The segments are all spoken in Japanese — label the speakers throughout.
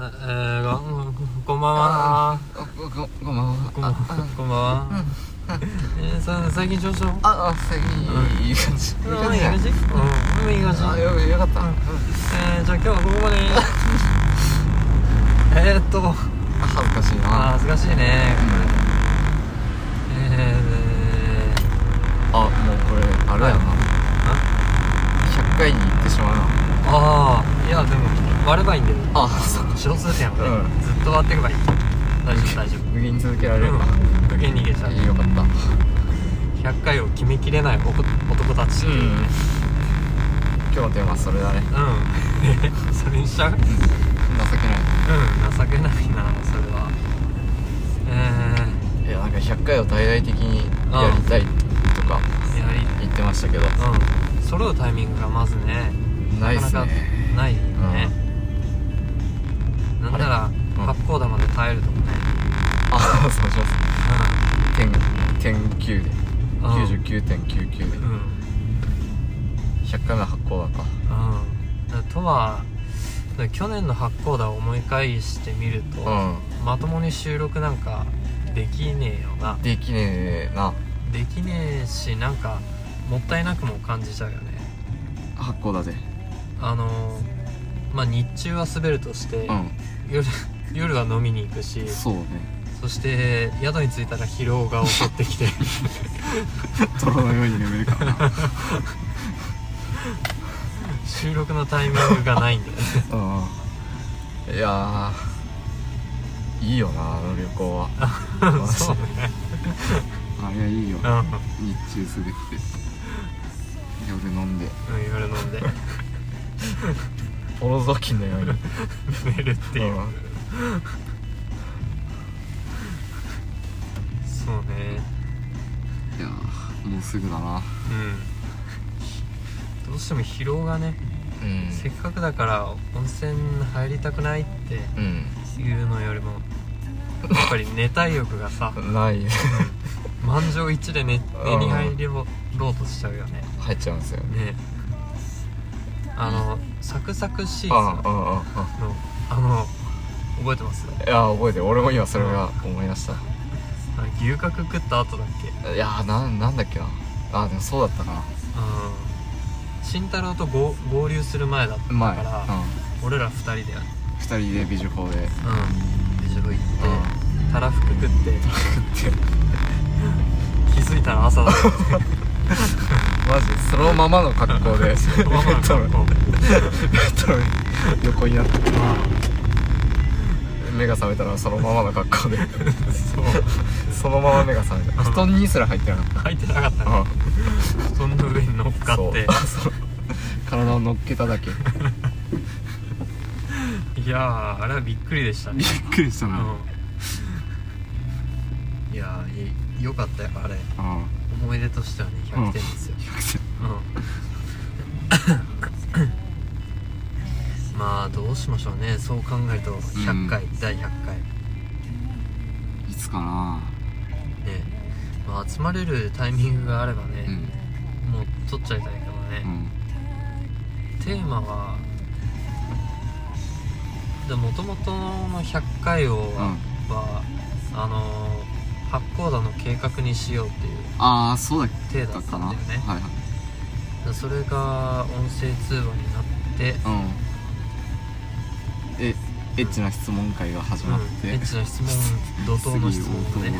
Speaker 1: えー、がうんこんばんは
Speaker 2: あごごごま
Speaker 1: こんばんはこんばんはえー、さ最近調子は
Speaker 2: ああ最近いい感じいい
Speaker 1: うん
Speaker 2: 感
Speaker 1: い
Speaker 2: じ
Speaker 1: い感じうんうんいい感じ
Speaker 2: あよよかったうん
Speaker 1: えー、じゃあ今日はここまでえーっと
Speaker 2: あ恥ずかしい
Speaker 1: あー
Speaker 2: な
Speaker 1: 恥ずかしいねえ
Speaker 2: あもうこれあれやな100回に行ってしまうな
Speaker 1: ー、ああいやでも割ればいいんだよ
Speaker 2: あそう
Speaker 1: 少数点やもんね、
Speaker 2: う
Speaker 1: ず
Speaker 2: ん
Speaker 1: っと割っていけばいい大丈夫大丈夫
Speaker 2: 無限に続けられるな
Speaker 1: うん無限に逃げちゃう
Speaker 2: いいよかった
Speaker 1: 100回を決めきれない男男たちっていうね
Speaker 2: 今日のテーマはそれだね
Speaker 1: うんそれにしちゃううん
Speaker 2: 情けな
Speaker 1: 情けないなそれはえ
Speaker 2: いいやなんか100回を大々的にやりたいとか
Speaker 1: ー、やはり
Speaker 2: 言ってましたけど
Speaker 1: うん揃うタイミングがまずね
Speaker 2: ないっ
Speaker 1: な
Speaker 2: す
Speaker 1: かなか
Speaker 2: ね
Speaker 1: ないよね、なんなら
Speaker 2: れうん
Speaker 1: 八甲玉で耐えるともね
Speaker 2: あそうします点点9で
Speaker 1: うん
Speaker 2: 99.99で
Speaker 1: うんうん
Speaker 2: 100回目発行だ
Speaker 1: う
Speaker 2: か
Speaker 1: んだからとはだから去年の八甲田を思い返してみると、
Speaker 2: う
Speaker 1: まともに収録なんかできねえよなん
Speaker 2: できねえな
Speaker 1: できねえしなんかもったいなくも感じちゃうよね
Speaker 2: 発行だぜ
Speaker 1: あのまあ日中は滑るとして、
Speaker 2: う
Speaker 1: 夜夜は飲みに行くし
Speaker 2: んそうね
Speaker 1: そして宿に着いたら疲労が襲ってきて
Speaker 2: 泥のように眠るからな
Speaker 1: 収録のタイミングがないんだよね
Speaker 2: うんいやーいいよなあの旅行 は
Speaker 1: そうね
Speaker 2: あれはいいよ
Speaker 1: うん
Speaker 2: 日中すべて夜飲んで
Speaker 1: うん夜飲んで
Speaker 2: おろぞきのようにっ
Speaker 1: 寝るっていうそうね
Speaker 2: いやーもうすぐだな
Speaker 1: うんどうしても疲労がね、
Speaker 2: うん
Speaker 1: せっかくだから温泉入りたくないって
Speaker 2: う
Speaker 1: 言うのよりもやっぱり寝たい欲がさ
Speaker 2: んない
Speaker 1: 満場一致で寝
Speaker 2: ん
Speaker 1: 寝に入ろうとしちゃうよね
Speaker 2: 入っちゃうんですよ
Speaker 1: ねあのサクサクシー
Speaker 2: うんうん
Speaker 1: ズ
Speaker 2: う
Speaker 1: の
Speaker 2: んうん
Speaker 1: あの覚えてます
Speaker 2: いやー覚えてる俺も今それが思い出した
Speaker 1: あの牛角食った後だっけ
Speaker 2: いやーなんなんだっけなあーでもそうだったな
Speaker 1: うん慎太郎と合合流する前だった
Speaker 2: う
Speaker 1: か
Speaker 2: まい
Speaker 1: ら、俺ら二人で
Speaker 2: うん、2人で美女法で
Speaker 1: うんでちょっと行ってたらふく食って 気づいたら朝だったって
Speaker 2: マジそのままの格好 で
Speaker 1: そのままの格好
Speaker 2: ベッドの横になって目が覚めたらそのままの格 好で
Speaker 1: そう
Speaker 2: そのまま目が覚めた布団にすら入ってなかっ
Speaker 1: 入ってなかった
Speaker 2: た
Speaker 1: ね
Speaker 2: うん
Speaker 1: 布団の上に乗っか
Speaker 2: そ
Speaker 1: っ
Speaker 2: う
Speaker 1: て
Speaker 2: そう体を乗っけただけ
Speaker 1: いやーあれはびっくりでしたね
Speaker 2: くりした
Speaker 1: うんいやーいよかったよあれ
Speaker 2: うん
Speaker 1: 思い出としてはね100点ですよ、うんまあどうしましょうねそう考えると100回、第100回ね
Speaker 2: いつかな
Speaker 1: まあ集まれるタイミングがあればね、
Speaker 2: うん
Speaker 1: もう取っちゃいたいけどね
Speaker 2: う、ん
Speaker 1: テーマはでもともとの100回をは、はあのー八甲田の計画にしようっていう
Speaker 2: ああそうだ
Speaker 1: 体だ
Speaker 2: っ
Speaker 1: った
Speaker 2: た
Speaker 1: ん
Speaker 2: な
Speaker 1: だよね
Speaker 2: はいはい
Speaker 1: でそれが音声通話になって、
Speaker 2: うんえエッチな質問会が始まっ
Speaker 1: うん、
Speaker 2: て、
Speaker 1: エッチな質問怒涛の質問をね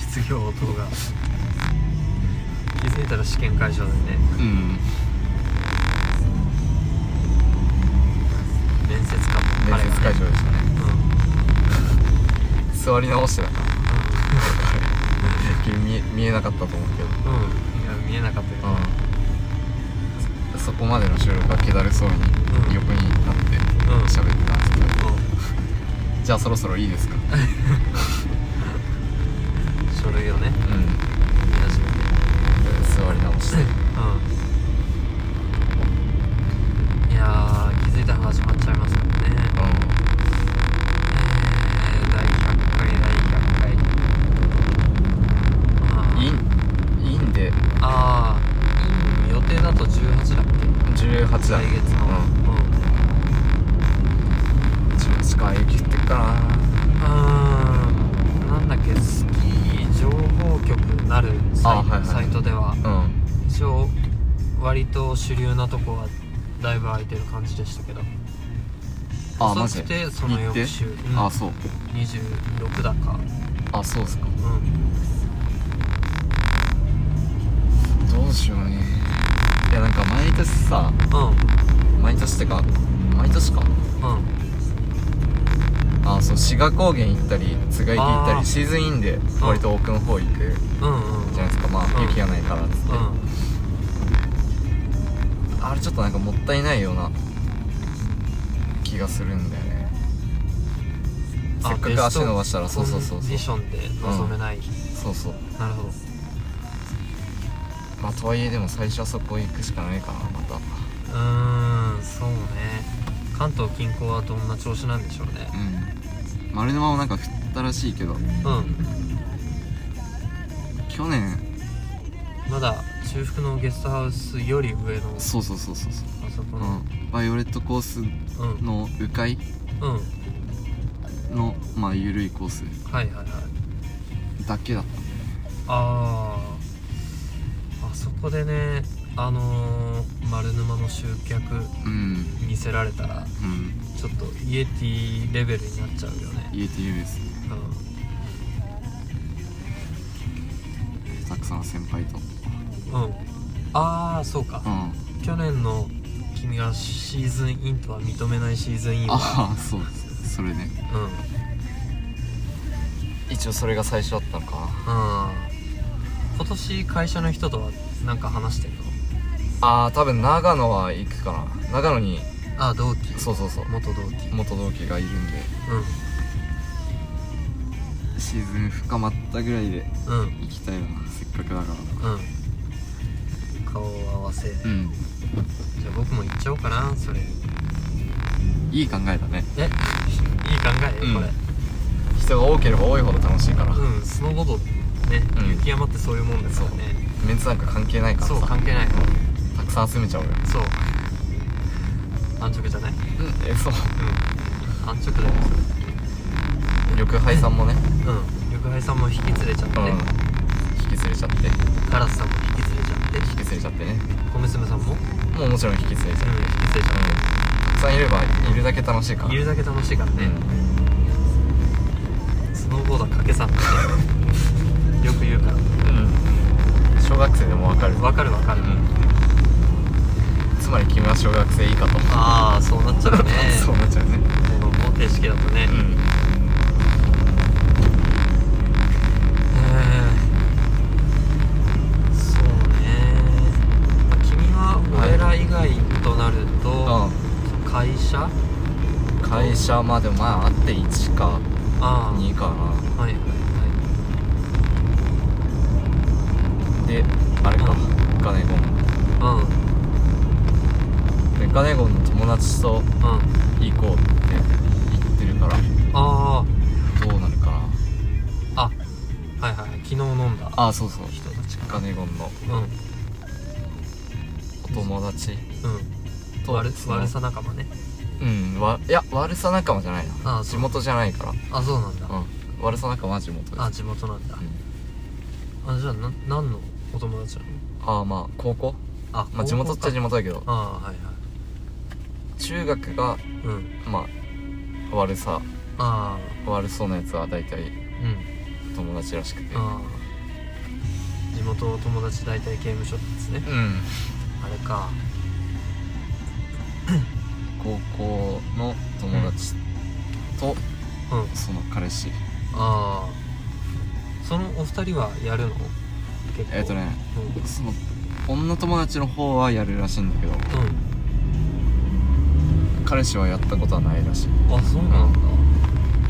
Speaker 1: 失業応答が気づいたら試験会場でね
Speaker 2: うん
Speaker 1: 面接官も
Speaker 2: 面
Speaker 1: 彼が
Speaker 2: 接
Speaker 1: ね
Speaker 2: 会場でしたね
Speaker 1: うん
Speaker 2: 座り直してたから君見え見えなかったと思うけど
Speaker 1: うん、うん、いや見えなかったけど、
Speaker 2: うんそそこまでの収録が気だるそうに
Speaker 1: うん
Speaker 2: 横になって
Speaker 1: うん
Speaker 2: 喋ってたんですけど
Speaker 1: もう
Speaker 2: じゃあそろそろいいですか
Speaker 1: 書類をね
Speaker 2: うん
Speaker 1: 見始めて
Speaker 2: 座り直して
Speaker 1: うんいやー気づいたら始まっちゃいますもんね
Speaker 2: う
Speaker 1: えー第100回第100回あ
Speaker 2: ん
Speaker 1: ー
Speaker 2: インインで
Speaker 1: あーいい予定だと18だっけ
Speaker 2: 18だ
Speaker 1: 来月の、
Speaker 2: うん
Speaker 1: うん
Speaker 2: 18か
Speaker 1: 主流なとこはだいぶ空いてる感じでしたけど
Speaker 2: あマジ
Speaker 1: 遅くてその翌週、
Speaker 2: 日程
Speaker 1: うん
Speaker 2: あそう
Speaker 1: 26だか
Speaker 2: あそうっすか
Speaker 1: うん
Speaker 2: どうしようねいやなんか毎年
Speaker 1: う
Speaker 2: さ
Speaker 1: ん
Speaker 2: 毎年ってか毎年か
Speaker 1: うん
Speaker 2: あそう志賀高原行ったり津賀池行った
Speaker 1: あー
Speaker 2: りシーズンインで割と奥の方行く
Speaker 1: うんうん
Speaker 2: じゃないですかまあ
Speaker 1: うん
Speaker 2: 雪がないからっつって、
Speaker 1: う
Speaker 2: あれちょっとなんかもったいないような気がするんだよね
Speaker 1: あ
Speaker 2: せっか
Speaker 1: ベス
Speaker 2: く
Speaker 1: ト
Speaker 2: 足伸ばしたらそうそうそ
Speaker 1: コ
Speaker 2: う
Speaker 1: ン
Speaker 2: そ
Speaker 1: デ
Speaker 2: う
Speaker 1: ィションで望めない、
Speaker 2: そうそう
Speaker 1: なるほど
Speaker 2: まあとはいえでも最初はそこ行くしかないかなまた
Speaker 1: うーんそうね関東近郊はどんな調子なんでしょうね
Speaker 2: うん丸沼もなんか降ったらしいけど
Speaker 1: うん
Speaker 2: 去年
Speaker 1: まだ中腹のゲストハウスより上のあ
Speaker 2: そうそうそうそうそう
Speaker 1: そこ
Speaker 2: う
Speaker 1: の
Speaker 2: んバイオレットコース
Speaker 1: うんうん
Speaker 2: の迂回のまあ緩いコース
Speaker 1: はいはいはい
Speaker 2: だけだっ
Speaker 1: あーあそこでねあのー、丸沼の集客
Speaker 2: たうん
Speaker 1: 見せられたら
Speaker 2: うん
Speaker 1: ちょっとイエティレベルになっちゃうよね
Speaker 2: 言えて言うですたくさん先輩と
Speaker 1: うん、うん、ああそうか
Speaker 2: うん
Speaker 1: 去年の君がシーズンインとは認めないシーズンインは
Speaker 2: ああそうですそれね
Speaker 1: うんうん
Speaker 2: 一応それが最初だったのか
Speaker 1: 今年会社の人とはなんか話してるの
Speaker 2: なあー多分長野は行くかな長野に
Speaker 1: あ同期
Speaker 2: そうそうそう
Speaker 1: 元同期
Speaker 2: 元同期がいるんでシーズン深まったぐらいで
Speaker 1: うんうん
Speaker 2: 行きたいよなせっかくだか
Speaker 1: うん顔を合わせ、
Speaker 2: らうん
Speaker 1: じゃあ僕も行っちゃおうかなそれ
Speaker 2: いい考えだね
Speaker 1: えいい考え、
Speaker 2: うん
Speaker 1: これ
Speaker 2: 人が多ければ多いほど楽しいから、
Speaker 1: うんスノーボードね、
Speaker 2: うん
Speaker 1: 雪山ってそういうもんですからね
Speaker 2: メンツなんか関係ないからさ
Speaker 1: そう関係ない
Speaker 2: たくさん集めちゃおうよ
Speaker 1: そう安直じゃない
Speaker 2: うんえそう
Speaker 1: うん安直だよそれ
Speaker 2: 緑杯さんもね
Speaker 1: うん緑配さんも引き連れちゃって、
Speaker 2: うん引き連れちゃって引
Speaker 1: カラスさんも引き連れちゃって
Speaker 2: き連れちゃってね
Speaker 1: 小娘さんも、うん、引
Speaker 2: もうもちろん引き連れちゃって、う
Speaker 1: き
Speaker 2: ん、
Speaker 1: 連れちゃって
Speaker 2: たくさんいればいるだけ楽しいから
Speaker 1: いるだけ楽しいからね、スノーボードは掛け算ってよく言うから
Speaker 2: うん小学生でもわかる
Speaker 1: わかるわかる、
Speaker 2: つまり君は小学生以下と
Speaker 1: ああそうなっちゃうね
Speaker 2: そうなっちゃうね
Speaker 1: この方程式だとね、へ
Speaker 2: ん
Speaker 1: えそうね、まあ、君は俺ら以外となると、会社あ
Speaker 2: うん会社まあでもまああって1か
Speaker 1: あ
Speaker 2: 2か
Speaker 1: はいはいは
Speaker 2: なであれか
Speaker 1: う
Speaker 2: ガネゴン
Speaker 1: い
Speaker 2: でガネゴンの友達と
Speaker 1: うんうん
Speaker 2: 行こうって言ってるから
Speaker 1: あ
Speaker 2: どうなるかな
Speaker 1: ああはいはい昨日飲んだ
Speaker 2: ああそうそう
Speaker 1: 人たちか
Speaker 2: ガネゴンの
Speaker 1: うんうん
Speaker 2: お友達と
Speaker 1: 悪
Speaker 2: その
Speaker 1: 悪さ仲間ね
Speaker 2: うんわいや悪さ仲間じゃない
Speaker 1: あ
Speaker 2: な
Speaker 1: そう
Speaker 2: 地元じゃないから
Speaker 1: あそうなんだ、
Speaker 2: うん悪さ仲間は地元です
Speaker 1: あ地元なんだ
Speaker 2: う、ん
Speaker 1: あじゃあな何のお友達なの
Speaker 2: ああまあ高校
Speaker 1: あ
Speaker 2: まあ地元っちゃ地
Speaker 1: 元
Speaker 2: 元だけど
Speaker 1: ああはいは
Speaker 2: 中学
Speaker 1: い
Speaker 2: が
Speaker 1: うん
Speaker 2: まあ悪さ
Speaker 1: ああ
Speaker 2: 悪そうなやつは大体
Speaker 1: うん
Speaker 2: 友達らしくて
Speaker 1: ああ地元の友達大体刑務所ですね
Speaker 2: うん
Speaker 1: あれか
Speaker 2: 高校の友達と
Speaker 1: うん
Speaker 2: その彼氏
Speaker 1: ああそのお二人はやるの結構
Speaker 2: えっとねその女友達の方はやるらしいんだけど
Speaker 1: うん、う
Speaker 2: 彼氏はやったことはないらしい
Speaker 1: ん、あそうなんだ、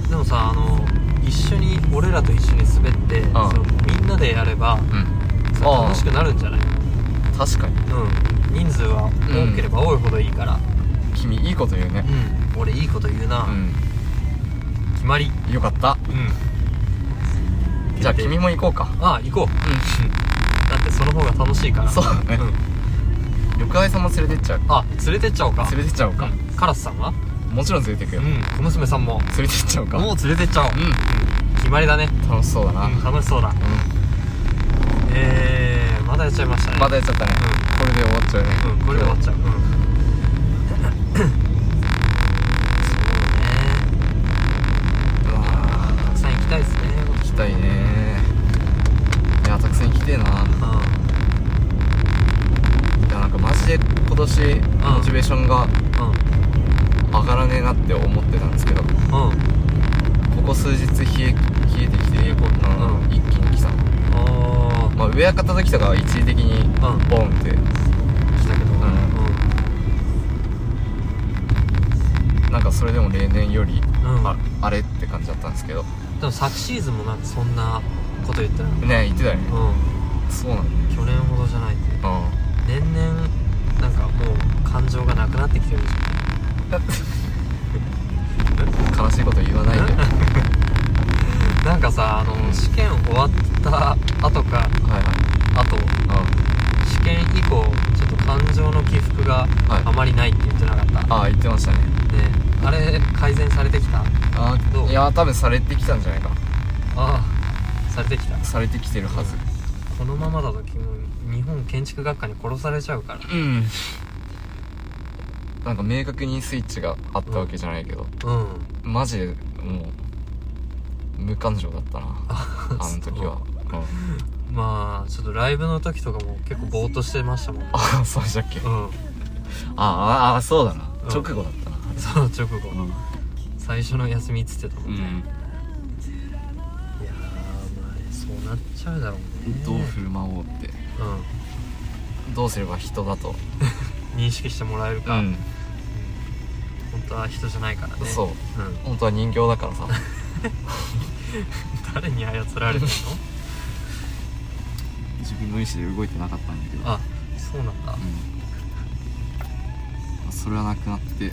Speaker 1: でもさあの一緒に俺らと一緒に滑って、
Speaker 2: ああ
Speaker 1: そのみんなでやれば
Speaker 2: うん
Speaker 1: さ
Speaker 2: ああ
Speaker 1: 楽しくなるんじゃない
Speaker 2: 確かに
Speaker 1: うん人数は多ければ多いほどいいから
Speaker 2: 君いいこと言う
Speaker 1: う
Speaker 2: ね
Speaker 1: ん、俺いいこと言うな、
Speaker 2: う
Speaker 1: 決まり
Speaker 2: んよかった
Speaker 1: うん
Speaker 2: じゃあ君も行こうか
Speaker 1: ああ行こ
Speaker 2: う
Speaker 1: うだってその方が楽しいから
Speaker 2: そうだね
Speaker 1: ん
Speaker 2: 緑愛さんも連れてっちゃう
Speaker 1: あ連れてっちゃおうか
Speaker 2: 連れてっちゃおうか
Speaker 1: うんカラスさんは
Speaker 2: もちろん連れてく
Speaker 1: う
Speaker 2: よ
Speaker 1: ん小娘さんも
Speaker 2: 連れてっちゃおうか
Speaker 1: もう連れてっちゃおう、
Speaker 2: う
Speaker 1: 決まりだね、
Speaker 2: ん楽しそうだな
Speaker 1: うん、楽しそうだ
Speaker 2: う
Speaker 1: えー、まだやっちゃいましたね
Speaker 2: んまだやっちゃったね
Speaker 1: う
Speaker 2: これで終わっちゃうね
Speaker 1: うんこれで終わっちゃう、うん、そうねうわーたくさん行きたいですね
Speaker 2: 行きたいねいやたくさん来てえな
Speaker 1: あ
Speaker 2: いやなんかマジで今年モチベーションが
Speaker 1: う
Speaker 2: 上がらねえなって思ってたんですけどこ
Speaker 1: んうんうん
Speaker 2: こ数日冷え冷えてきて、
Speaker 1: 冷え込んだ
Speaker 2: うん
Speaker 1: うん
Speaker 2: 一気に来た
Speaker 1: あ
Speaker 2: まあ上は叩きとかは一時的に
Speaker 1: うん
Speaker 2: ボンって、
Speaker 1: あ来たけど
Speaker 2: うんなんかそれでも例年より、
Speaker 1: うん
Speaker 2: ああれって感じだったんですけど
Speaker 1: うんでも昨シーズンもなんかそんなこと言ってなかっ
Speaker 2: ね言ってたよね
Speaker 1: たうん
Speaker 2: そうなんだ
Speaker 1: 去年ほどじゃないって
Speaker 2: あ
Speaker 1: 年々なんかもう感情がなくなってきてるでしょ
Speaker 2: あ悲しいこと言わないではい
Speaker 1: なんかさあの試験終わった後か
Speaker 2: はい
Speaker 1: あと試験以降ちょっと感情の起伏が
Speaker 2: はい
Speaker 1: あまりないって言ってなかった、
Speaker 2: ああ言ってましたね
Speaker 1: ねあれ改善されてきたあ
Speaker 2: あ
Speaker 1: どう
Speaker 2: いや多分されてきたんじゃないか
Speaker 1: あされてきた
Speaker 2: されてきてるはず
Speaker 1: このままだと君日本建築学科に殺されちゃうから
Speaker 2: うんなんか明確にスイッチがあったわけじゃないけど、
Speaker 1: うん
Speaker 2: マジでもう無感情だっ たなあの時はうん
Speaker 1: まあちょっとライブの時とかも結構ぼーっとしてましたもんね
Speaker 2: あそうでしたっけ
Speaker 1: う
Speaker 2: あ
Speaker 1: ん
Speaker 2: ああそうだな、
Speaker 1: うん
Speaker 2: 直後だったな
Speaker 1: その直後
Speaker 2: うん
Speaker 1: 最初の休みっつってたも
Speaker 2: うん
Speaker 1: ね、
Speaker 2: ん
Speaker 1: いやーまあねそうなっちゃうだろうね
Speaker 2: どう振る舞おうって
Speaker 1: う
Speaker 2: どうすれば人だと
Speaker 1: ん認識してもらえるか、
Speaker 2: うん
Speaker 1: 本当は人じゃないからね
Speaker 2: そう
Speaker 1: うん、
Speaker 2: 本当は人形だからさ
Speaker 1: 誰に操られてるの
Speaker 2: 自分の意思で動いてなかったんだけど
Speaker 1: あそうなんだ
Speaker 2: うんそれはなくなって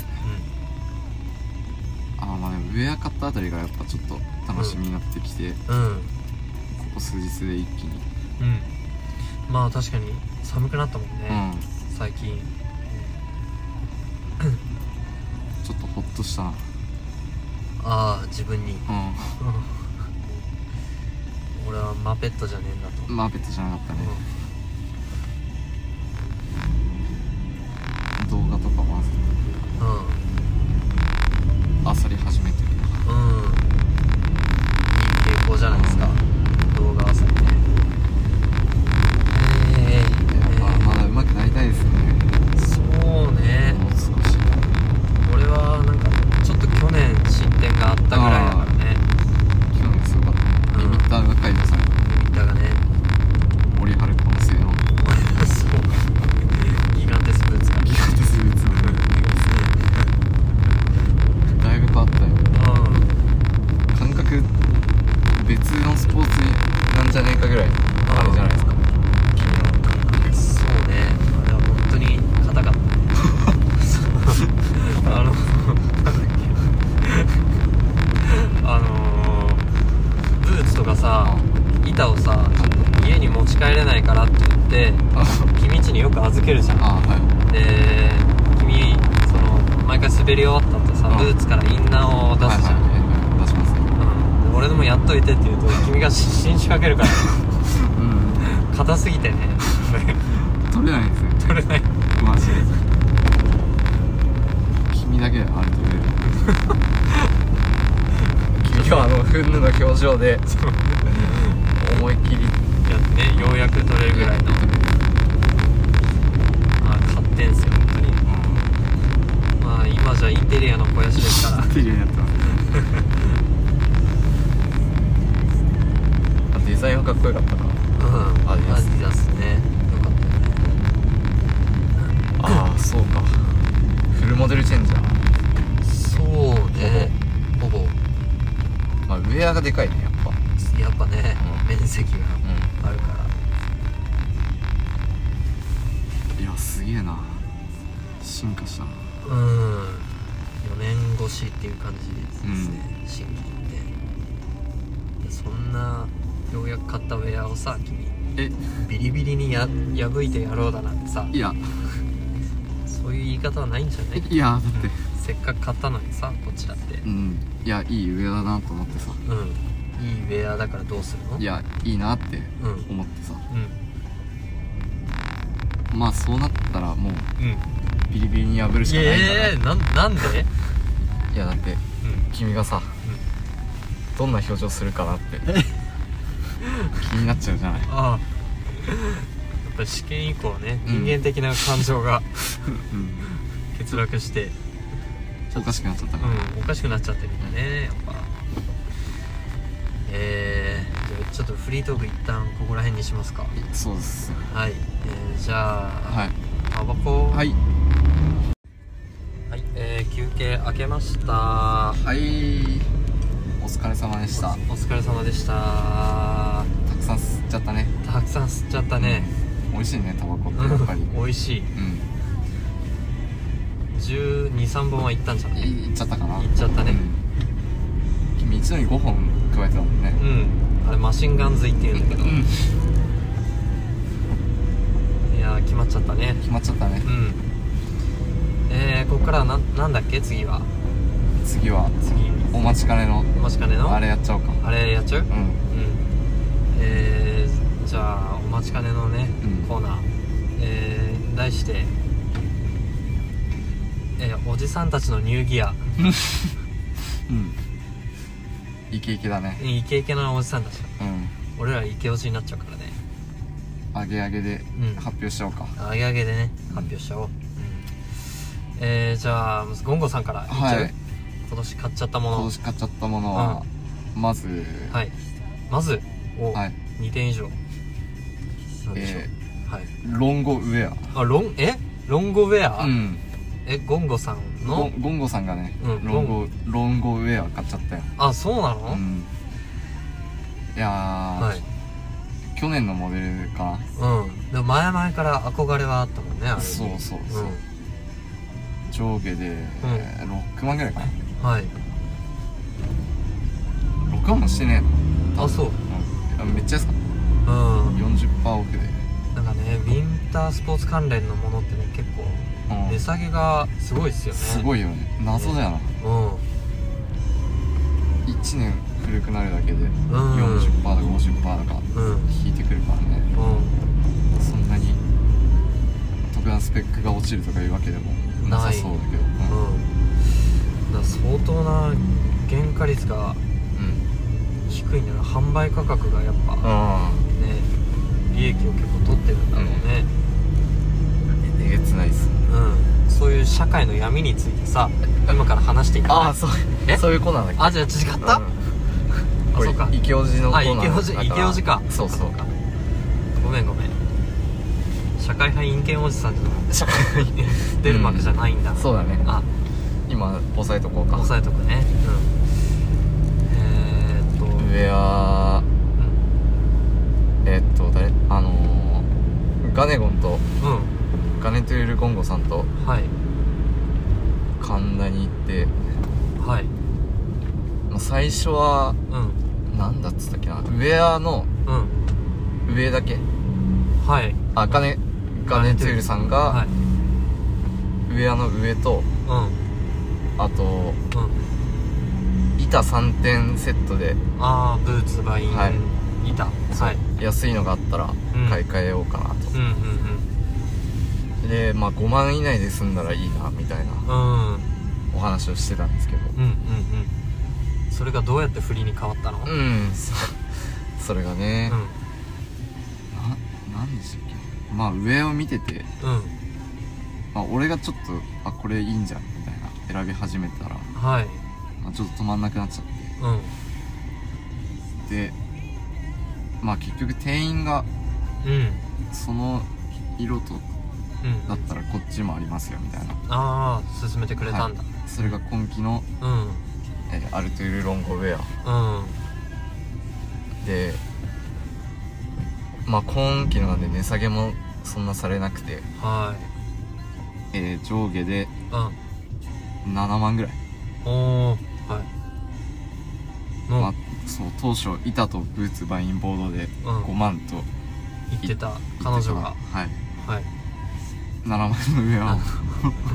Speaker 2: あーまあでも上アカットあたりがやっぱちょっと楽しみになってきて、こ
Speaker 1: うんうん
Speaker 2: こ数日で一気に
Speaker 1: うんまあ確かに寒くなったもん
Speaker 2: う
Speaker 1: ね、
Speaker 2: ん
Speaker 1: 最近
Speaker 2: ちょっとホッとしたなうん
Speaker 1: ああ自分に うん俺はマペットじゃねえんだと、
Speaker 2: まあ別じゃなかったね、動画とかも
Speaker 1: うんうん
Speaker 2: あさり始めてるな
Speaker 1: うんいい傾向じゃないですか動画はさてえー
Speaker 2: やっぱまだ上手くなりたいですね
Speaker 1: えーそうね
Speaker 2: もう少し
Speaker 1: 俺はなんかちょっと去年進展があったぐらいだからね
Speaker 2: 去年すごかったリミッターが解除された
Speaker 1: だがね
Speaker 2: 折り張るこの性能
Speaker 1: そうギガンテスブーツが
Speaker 2: ギガテスブーツのだいぶ変わったよ
Speaker 1: う
Speaker 2: 感覚別のスポーツなんじゃねえかぐらい
Speaker 1: あ
Speaker 2: あれじゃないですか君の
Speaker 1: んそうねあれは本当に硬か ったねそうあのなんだっけあのーブーツとかさ板をさちょっと家に持ち帰れないからって言って
Speaker 2: あ
Speaker 1: 君んちによく預けるじゃん
Speaker 2: あは
Speaker 1: で君その毎回滑り終わった後さ
Speaker 2: うん
Speaker 1: ブーツからインナーを
Speaker 2: い
Speaker 1: 出すじゃん、
Speaker 2: はいはいはい出しますね
Speaker 1: うんで俺のもやっといてって言うと君が失神しかけ るから硬すぎ てね
Speaker 2: うん取れないですね
Speaker 1: 取れない
Speaker 2: マジで君だけだよあれ取れる君はあの憤怒の表情で
Speaker 1: そう
Speaker 2: 思いっきり
Speaker 1: やってねようやく取れるぐらいのまあ買ってんすよ本当にまあ今じゃインテリアの肥やしですから
Speaker 2: てるようになってますデザインはかっこよかったな
Speaker 1: うん
Speaker 2: アディダ
Speaker 1: ア
Speaker 2: ス
Speaker 1: ディダスねよかったよね
Speaker 2: ああそうかフルモデルチェンジャー
Speaker 1: そうねほぼ
Speaker 2: まあウェアがでかいねやっぱ
Speaker 1: やっぱね、
Speaker 2: うん
Speaker 1: 面積が
Speaker 2: う
Speaker 1: あるから
Speaker 2: んいやすげえな進化したな
Speaker 1: うん4年越しっていう感じですね、新規ってでそんなようやく買ったウェアをさ君
Speaker 2: え
Speaker 1: ビリビリにや破いてやろうだなんてさ
Speaker 2: いや
Speaker 1: そういう言い方はないんじゃない
Speaker 2: いやだって
Speaker 1: せっかく買ったのにさこっちだって
Speaker 2: うんいやいいウェアだなと思ってさ
Speaker 1: うんいいウェアだからどうするの
Speaker 2: いやいいなって
Speaker 1: うん
Speaker 2: 思ってさ
Speaker 1: うん
Speaker 2: まあそうなったらもう
Speaker 1: うん
Speaker 2: ビリビリに破るし
Speaker 1: い
Speaker 2: かないから
Speaker 1: やいやなん なんで
Speaker 2: いやだって君がさどんな表情するかなって気になっちゃうじゃない
Speaker 1: ああやっぱり試験以降ね
Speaker 2: うん
Speaker 1: 人間的な感情が
Speaker 2: うん
Speaker 1: 欠落して、
Speaker 2: おかしくなっちゃったから、
Speaker 1: うん、おかしくなっちゃってるんだねやっぱえー、じゃあちょっとフリートーク一旦ここら辺にしますか
Speaker 2: そうです
Speaker 1: はい、えー、じゃあ、
Speaker 2: はい
Speaker 1: タバコ、
Speaker 2: はいい
Speaker 1: はいえー、休憩明けました
Speaker 2: はいお疲れ様でしたた
Speaker 1: おお疲れ様でした
Speaker 2: くさん吸っちゃったね
Speaker 1: たくさん吸っちゃったね
Speaker 2: 美味しいねタバコって
Speaker 1: う
Speaker 2: やっぱり
Speaker 1: ん美味しい
Speaker 2: うん
Speaker 1: 1 2 3本はいったんじゃない
Speaker 2: いいっちゃったかない
Speaker 1: っちゃったね
Speaker 2: うん君一度に5本加えてたもんね
Speaker 1: うんあれマシンガン髄っていうんだけど、
Speaker 2: うん
Speaker 1: いやー決まっちゃったね
Speaker 2: 決まっちゃったね
Speaker 1: うんえー、ここからはななんだっけ次は
Speaker 2: 次は
Speaker 1: 次
Speaker 2: お待ちかねの
Speaker 1: もしかねの
Speaker 2: あれやっちゃおうか
Speaker 1: あれやっちゃう
Speaker 2: うん
Speaker 1: うんえー、じゃあお待ちかねのね、
Speaker 2: うん
Speaker 1: コーナーえー、題して、えーおじさんたちのニューギア
Speaker 2: うんイケイケだね
Speaker 1: イケイケなおじさんたち
Speaker 2: うん
Speaker 1: 俺らイケオジになっちゃうからね
Speaker 2: あげあげで
Speaker 1: うん
Speaker 2: 発表しようか、
Speaker 1: あげあげでね
Speaker 2: うん
Speaker 1: 発表しちゃおう、うんえー、じゃあまずゴンゴさんからいっちゃう、
Speaker 2: はい
Speaker 1: 今年買っちゃったも
Speaker 2: 今
Speaker 1: の
Speaker 2: 年買っちゃったものは、まず
Speaker 1: はいまずお、
Speaker 2: はい、
Speaker 1: 2点以上なんでしょう、
Speaker 2: え
Speaker 1: はい
Speaker 2: ーロンゴウェ
Speaker 1: あロンえロンゴウェ
Speaker 2: ア
Speaker 1: ア、
Speaker 2: うん
Speaker 1: えゴンゴさん
Speaker 2: ゴ
Speaker 1: の
Speaker 2: ンゴンゴさんがね、
Speaker 1: うん
Speaker 2: ロンゴロンゴウェア買っちゃったよ
Speaker 1: あそうな
Speaker 2: う
Speaker 1: の、
Speaker 2: んいやー、
Speaker 1: はい
Speaker 2: 去年のモデルか
Speaker 1: うんでも前々から憧れはあったもんねあれ
Speaker 2: な
Speaker 1: に
Speaker 2: そうそうそうう、上下で、6万ぐらいかなん
Speaker 1: はい
Speaker 2: 6万もしてね
Speaker 1: あそう
Speaker 2: えなめっちゃ安かっ
Speaker 1: うん
Speaker 2: た40%オフで、
Speaker 1: なんかねウィンタースポーツ関連のものってね結構
Speaker 2: うん
Speaker 1: 値下げがすごいっすよね
Speaker 2: すごいよね謎だよな、
Speaker 1: うん
Speaker 2: 1年古くなるだけで
Speaker 1: ん
Speaker 2: 40%だか50%だか
Speaker 1: うん
Speaker 2: 引いてくるからね
Speaker 1: うん
Speaker 2: そんなに特段スペックが落ちるとかいうわけでもなさそうだけど
Speaker 1: うんだから相当な原価率が
Speaker 2: うんうん
Speaker 1: 低いんだな販売価格がやっぱ、
Speaker 2: あ
Speaker 1: ね利益を結構取ってるんだろうね、
Speaker 2: あえげつないっす
Speaker 1: うんそういう社会の闇についてさ今から話していかない
Speaker 2: そう
Speaker 1: え
Speaker 2: そういうコーナーだっ
Speaker 1: あじゃあ違った、
Speaker 2: これ
Speaker 1: そうか
Speaker 2: イケオジのコ
Speaker 1: あ
Speaker 2: ー
Speaker 1: イ
Speaker 2: ナ
Speaker 1: ケ
Speaker 2: ー
Speaker 1: オジイケオジか
Speaker 2: そうそう
Speaker 1: かごめんごめん社会派陰険おじさんじゃなくて
Speaker 2: 社会
Speaker 1: 出る幕じゃないんだ、
Speaker 2: そうだね
Speaker 1: あ
Speaker 2: 今押さえとこうか
Speaker 1: 押さえとくねうんえー、っと、
Speaker 2: ウェアえっと誰あのー、ガネゴンと
Speaker 1: うん、
Speaker 2: ガネトゥールゴンゴさんと
Speaker 1: うん、はい
Speaker 2: 神田に行って、
Speaker 1: はい
Speaker 2: まあ、最初は
Speaker 1: うん
Speaker 2: なんだっつったっけなウェアの
Speaker 1: うん
Speaker 2: 上だけ
Speaker 1: はい
Speaker 2: あガネガネトゥールさ
Speaker 1: は
Speaker 2: んが
Speaker 1: い
Speaker 2: ウェアの上と
Speaker 1: う
Speaker 2: あと
Speaker 1: んうん
Speaker 2: 板3点セットで
Speaker 1: ああブーツバイン、
Speaker 2: は
Speaker 1: 板はい
Speaker 2: 安いのがあったら買い替えようかなと、
Speaker 1: うんうん
Speaker 2: でまあ5万以内で済んだらいいなみたいな
Speaker 1: うんうん
Speaker 2: お話をしてたんですけど
Speaker 1: うんうんうんそれがどうやって振りに変わったの
Speaker 2: うん、そ それがね、ななんでしたっけまあ上を見てて、
Speaker 1: うんうん
Speaker 2: まあ、俺がちょっとあこれいいんじゃんみたいな選び始めたら、
Speaker 1: はい
Speaker 2: まあ、ちょっと止まんなくなっちゃっ
Speaker 1: うん
Speaker 2: てでまあ結局店員が
Speaker 1: うん
Speaker 2: その色と
Speaker 1: うん
Speaker 2: だったらこっちもありますよみたいな
Speaker 1: ああ進めてくれたんだ、
Speaker 2: それが今季の、
Speaker 1: うん
Speaker 2: えーアルトゥールロンゴウェア
Speaker 1: うん
Speaker 2: でまあ今季のなんで値下げもそんなされなくて、
Speaker 1: は
Speaker 2: えー上下で
Speaker 1: いうん
Speaker 2: 7万ぐらい
Speaker 1: おおはいの、
Speaker 2: まあ、そう当初板とブーツバインボードで
Speaker 1: うん
Speaker 2: 5万と
Speaker 1: 言ってた彼
Speaker 2: 言ってた
Speaker 1: 女が
Speaker 2: はい
Speaker 1: はい
Speaker 2: 7万の上は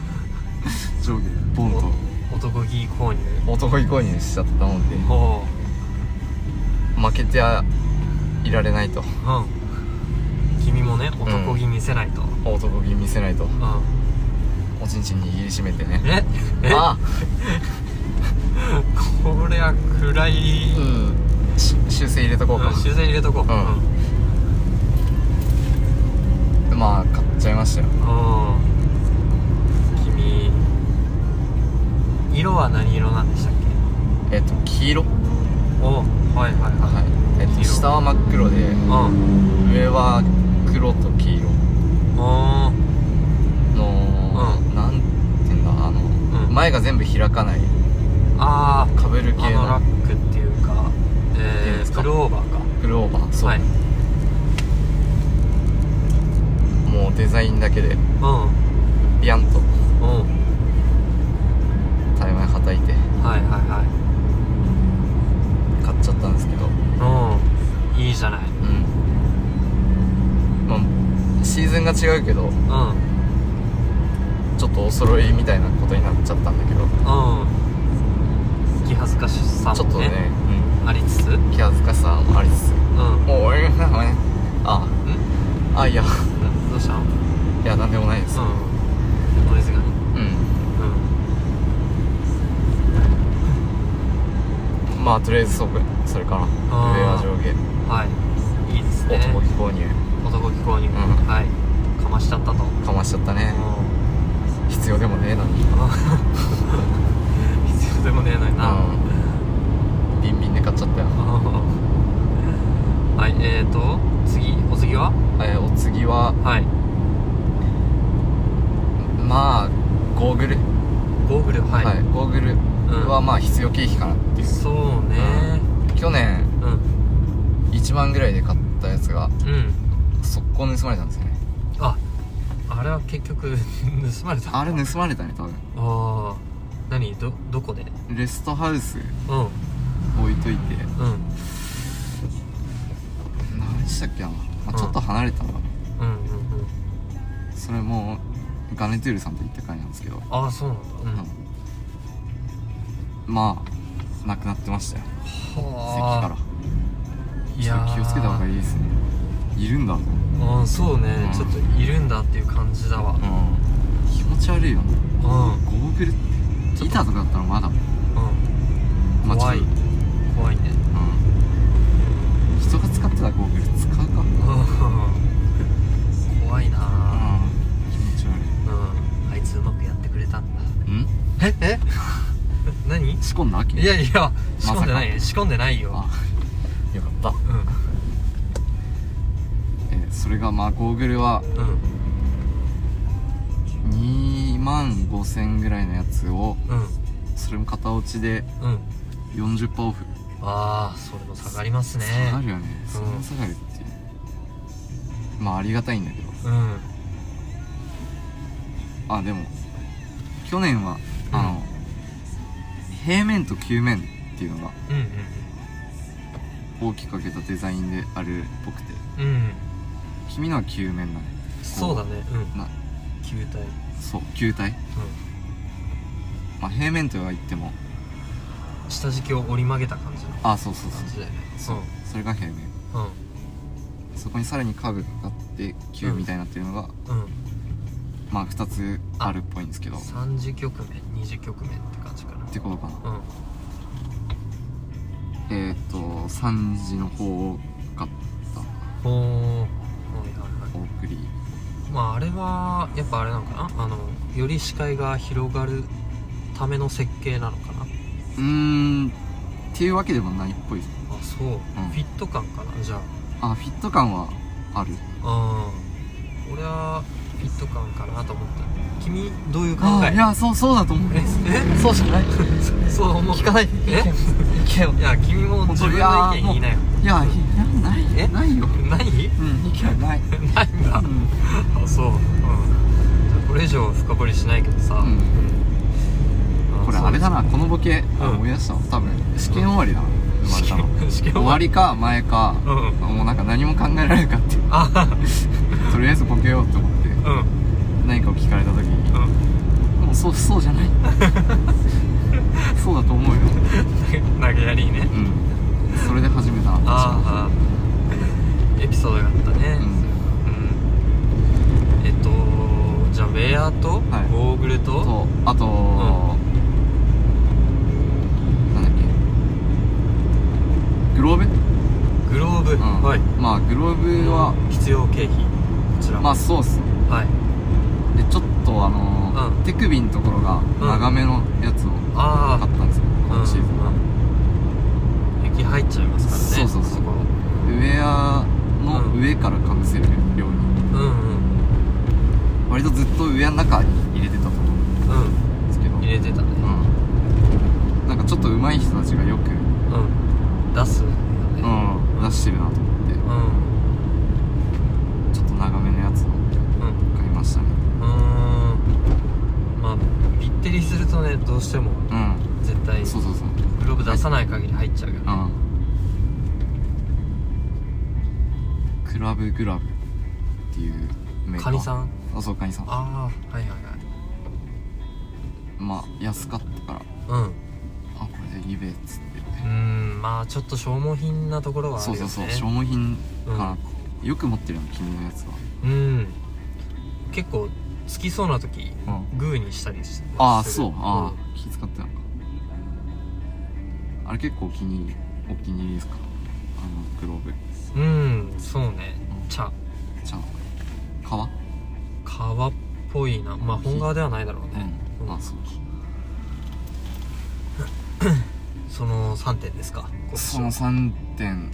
Speaker 2: 上下ボン
Speaker 1: 男気購入
Speaker 2: と男いこいにしちゃったもんで
Speaker 1: おお
Speaker 2: 負けてはいられないと
Speaker 1: うん君もね男気見せないと、
Speaker 2: 男気見せないと
Speaker 1: うん
Speaker 2: おちんちん握りしめてね
Speaker 1: ええ
Speaker 2: あ
Speaker 1: これは暗い、
Speaker 2: うんし修正入れとこうか
Speaker 1: うん修正入れとこう、
Speaker 2: うんまあ買っちゃいましたよ
Speaker 1: あー君色は何色なんでしたっけ
Speaker 2: えっと黄色
Speaker 1: おはいはいは
Speaker 2: はいえっ
Speaker 1: 黄
Speaker 2: と
Speaker 1: 色
Speaker 2: 下は真っ黒で
Speaker 1: いうん
Speaker 2: 上は黒と黄色
Speaker 1: あ
Speaker 2: の、
Speaker 1: う
Speaker 2: なんていうんだあの、
Speaker 1: ん
Speaker 2: 前が全部開かない
Speaker 1: ーあー
Speaker 2: かぶる
Speaker 1: あ
Speaker 2: 系
Speaker 1: のラ
Speaker 2: の
Speaker 1: ックっていうか
Speaker 2: いうん
Speaker 1: え
Speaker 2: です
Speaker 1: ー、
Speaker 2: か
Speaker 1: プルオーバーか
Speaker 2: クローバーそう、
Speaker 1: はい
Speaker 2: もうデザインだけで
Speaker 1: う
Speaker 2: ビャンと
Speaker 1: んうん
Speaker 2: タイマーはたいて
Speaker 1: はいはいはい
Speaker 2: 買っちゃったんですけど
Speaker 1: うんいいじゃない
Speaker 2: うんまあシーズンが違うけど
Speaker 1: うん
Speaker 2: ちょっとお揃いみたいなことになっちゃったんだけど
Speaker 1: うん気恥ずかしさ
Speaker 2: ちょっ
Speaker 1: も
Speaker 2: と
Speaker 1: ね
Speaker 2: ね、
Speaker 1: ありつつうん
Speaker 2: うん、気恥ずかしさもありつつおいあ
Speaker 1: ん
Speaker 2: あいや
Speaker 1: どうしたのう
Speaker 2: いやなんでもないです
Speaker 1: んノイズがね
Speaker 2: うん
Speaker 1: うん
Speaker 2: まあとりあえずそこそれかな
Speaker 1: あー
Speaker 2: 上は上下
Speaker 1: はいいいですね
Speaker 2: 男気購入
Speaker 1: 男気購入、
Speaker 2: ん
Speaker 1: はいかましちゃったと、
Speaker 2: かましちゃったね
Speaker 1: う
Speaker 2: 必要でもねえのに
Speaker 1: ん 必要でもねえのにな、
Speaker 2: ビンビンで買っちゃったよ
Speaker 1: はいえーと次お次は
Speaker 2: えーお次は
Speaker 1: はい
Speaker 2: まあゴーグル
Speaker 1: ゴーグルはい、
Speaker 2: ゴーグルはまあ必要経費かなっていう、
Speaker 1: そうね
Speaker 2: 去年
Speaker 1: うん
Speaker 2: 1万ぐらいで買ったやつが
Speaker 1: うん、
Speaker 2: 速攻盗まれたんですよね
Speaker 1: ああれは結局 盗まれたあ
Speaker 2: あれ盗まれたね多分
Speaker 1: あー何どどこで
Speaker 2: レストハウス
Speaker 1: うん
Speaker 2: 置いといて
Speaker 1: うん
Speaker 2: 何でしたっけな、ま
Speaker 1: うん
Speaker 2: あ、ちょっと離れたら、
Speaker 1: うんうんうん
Speaker 2: それもガネトゥールさんと行った会なんですけど、
Speaker 1: ああそうなんだ
Speaker 2: うんまあなくなってましたよ
Speaker 1: うん
Speaker 2: 席
Speaker 1: は
Speaker 2: から
Speaker 1: いやー
Speaker 2: 気をつけた方がいいですねいるんだと思
Speaker 1: あ
Speaker 2: って
Speaker 1: ーそうね、
Speaker 2: うん
Speaker 1: ちょっといるんだっていう感じだわうん
Speaker 2: 気持ち悪いよね
Speaker 1: うん
Speaker 2: ゴーグルって板とかだったらまだまあ
Speaker 1: 怖い
Speaker 2: ちょっと
Speaker 1: 怖いね
Speaker 2: うん人が使ってたゴーグル使うかうん
Speaker 1: うん怖いなあ
Speaker 2: 気持ち悪
Speaker 1: うんあいつうまくやってくれたんだ
Speaker 2: いうん
Speaker 1: ええ 何い
Speaker 2: 仕込んだわけ
Speaker 1: やいや仕
Speaker 2: さか
Speaker 1: 込んでない、仕込んでないよ
Speaker 2: あよかった、
Speaker 1: う
Speaker 2: えーそれがまあゴーグルは
Speaker 1: んうん
Speaker 2: 2万5000ぐらいのやつを
Speaker 1: うん
Speaker 2: それも片落ちで
Speaker 1: うん
Speaker 2: 40%オフ
Speaker 1: ああそれも下がりますね
Speaker 2: 下がるよねそんな下がるっていう、まあありがたいんだけど
Speaker 1: うん
Speaker 2: あでも去年はあの、平面と球面っていうのが
Speaker 1: うん
Speaker 2: 大きく分けたデザインであるっぽくて
Speaker 1: うんうんうん
Speaker 2: 君のは球面だね
Speaker 1: そうだねうん
Speaker 2: な
Speaker 1: 球体
Speaker 2: そう球体、まあ、平面とは言っても
Speaker 1: うん下敷きを折り曲げた感じの
Speaker 2: あそうそうそう
Speaker 1: 感じだよね
Speaker 2: そう、それが平面
Speaker 1: うんうん
Speaker 2: そこにさらにカーブがかかって球みたいになってるのが、
Speaker 1: うん
Speaker 2: まあ2つあるっぽいんですけどっ
Speaker 1: 30局面20局面って感じかな
Speaker 2: てことかな
Speaker 1: うん
Speaker 2: えっ、ー、と3時の方を買った
Speaker 1: ほーはいはいはい
Speaker 2: お送り
Speaker 1: まああれはやっぱあれなのかなあのより視界が広がるための設計なのかな
Speaker 2: うーんっていうわけでもないっぽいです
Speaker 1: あそう、フィット感かなじゃあ
Speaker 2: あフィット感はある
Speaker 1: うん俺はフィット感かなと思った君どういう考
Speaker 2: あ
Speaker 1: え
Speaker 2: いやそうそうだと思う
Speaker 1: ええ
Speaker 2: そうしかない
Speaker 1: そう思う
Speaker 2: 聞かない
Speaker 1: え
Speaker 2: 意見を
Speaker 1: いや君も自分の意見言いなよ
Speaker 2: いやいやない
Speaker 1: え
Speaker 2: ないよ
Speaker 1: ない
Speaker 2: うん意見ない
Speaker 1: ないんだ あそううんじゃあこれ以上深掘りしないけどさ、
Speaker 2: う
Speaker 1: う
Speaker 2: ん
Speaker 1: ん
Speaker 2: これあれだなこのボケ、あ
Speaker 1: うん
Speaker 2: 思い出したわ多分試験終わりだな生まれた の
Speaker 1: そう試験
Speaker 2: 終わりか前か、
Speaker 1: うん
Speaker 2: もうなんか何も考えられなかった
Speaker 1: あ
Speaker 2: とりあえずボケようと思って
Speaker 1: うん
Speaker 2: 何かを聞かれた時に
Speaker 1: うん
Speaker 2: もうそうそうじゃない そうだと思うよ
Speaker 1: 投げやりね
Speaker 2: うんそれで始めたな
Speaker 1: ああエピソードがあったね
Speaker 2: うん
Speaker 1: うんはい
Speaker 2: まあグローブは
Speaker 1: 必要経費こちら
Speaker 2: まあそうっすね
Speaker 1: はい
Speaker 2: でちょっとあのー
Speaker 1: うん
Speaker 2: 手首のところが長めのやつを
Speaker 1: あ
Speaker 2: 買ったんですよ、
Speaker 1: あ
Speaker 2: 今シーズンは、
Speaker 1: うん雪入っちゃいますからね
Speaker 2: そうそうそう
Speaker 1: そこ
Speaker 2: ウェアの
Speaker 1: うん
Speaker 2: 上からかぶせる量
Speaker 1: う
Speaker 2: に、
Speaker 1: んうん
Speaker 2: 割とずっとウェアの中に入れてたと思うん
Speaker 1: う
Speaker 2: ですけど
Speaker 1: ん入れてたね
Speaker 2: うんなんかちょっと上手い人たちがよく、う
Speaker 1: うん出すよね
Speaker 2: ん、出してるなと思って
Speaker 1: うん
Speaker 2: ちょっと長めのやつ
Speaker 1: う
Speaker 2: を
Speaker 1: ん
Speaker 2: 買いましたね
Speaker 1: うーんまあびってりするとねどうしても
Speaker 2: うん
Speaker 1: 絶対
Speaker 2: そうそうそう
Speaker 1: グローブ出さない限り入っちゃうよね
Speaker 2: うんクラブグラブっていうメー
Speaker 1: カ
Speaker 2: カー
Speaker 1: ニさん
Speaker 2: あそうカニさん
Speaker 1: ああはいはい
Speaker 2: まあ安かったから
Speaker 1: はいうん
Speaker 2: あこれでゆべっつって
Speaker 1: うーんまあちょっと消耗品なところはある
Speaker 2: そ
Speaker 1: よ
Speaker 2: う
Speaker 1: ね
Speaker 2: そうそう消耗品かな、よく持ってるの君のやつは
Speaker 1: うん結構つきそうな時グーにしたりして
Speaker 2: ああそうああ、気使ってたのかあれ結構お気に入りお気に入りですかあのグローブ
Speaker 1: うん、うん、そうね茶
Speaker 2: じゃあ革
Speaker 1: 革っぽいなまあ本革ではないだろうね、
Speaker 2: うんあそう
Speaker 1: その3点ですか今年
Speaker 2: その3点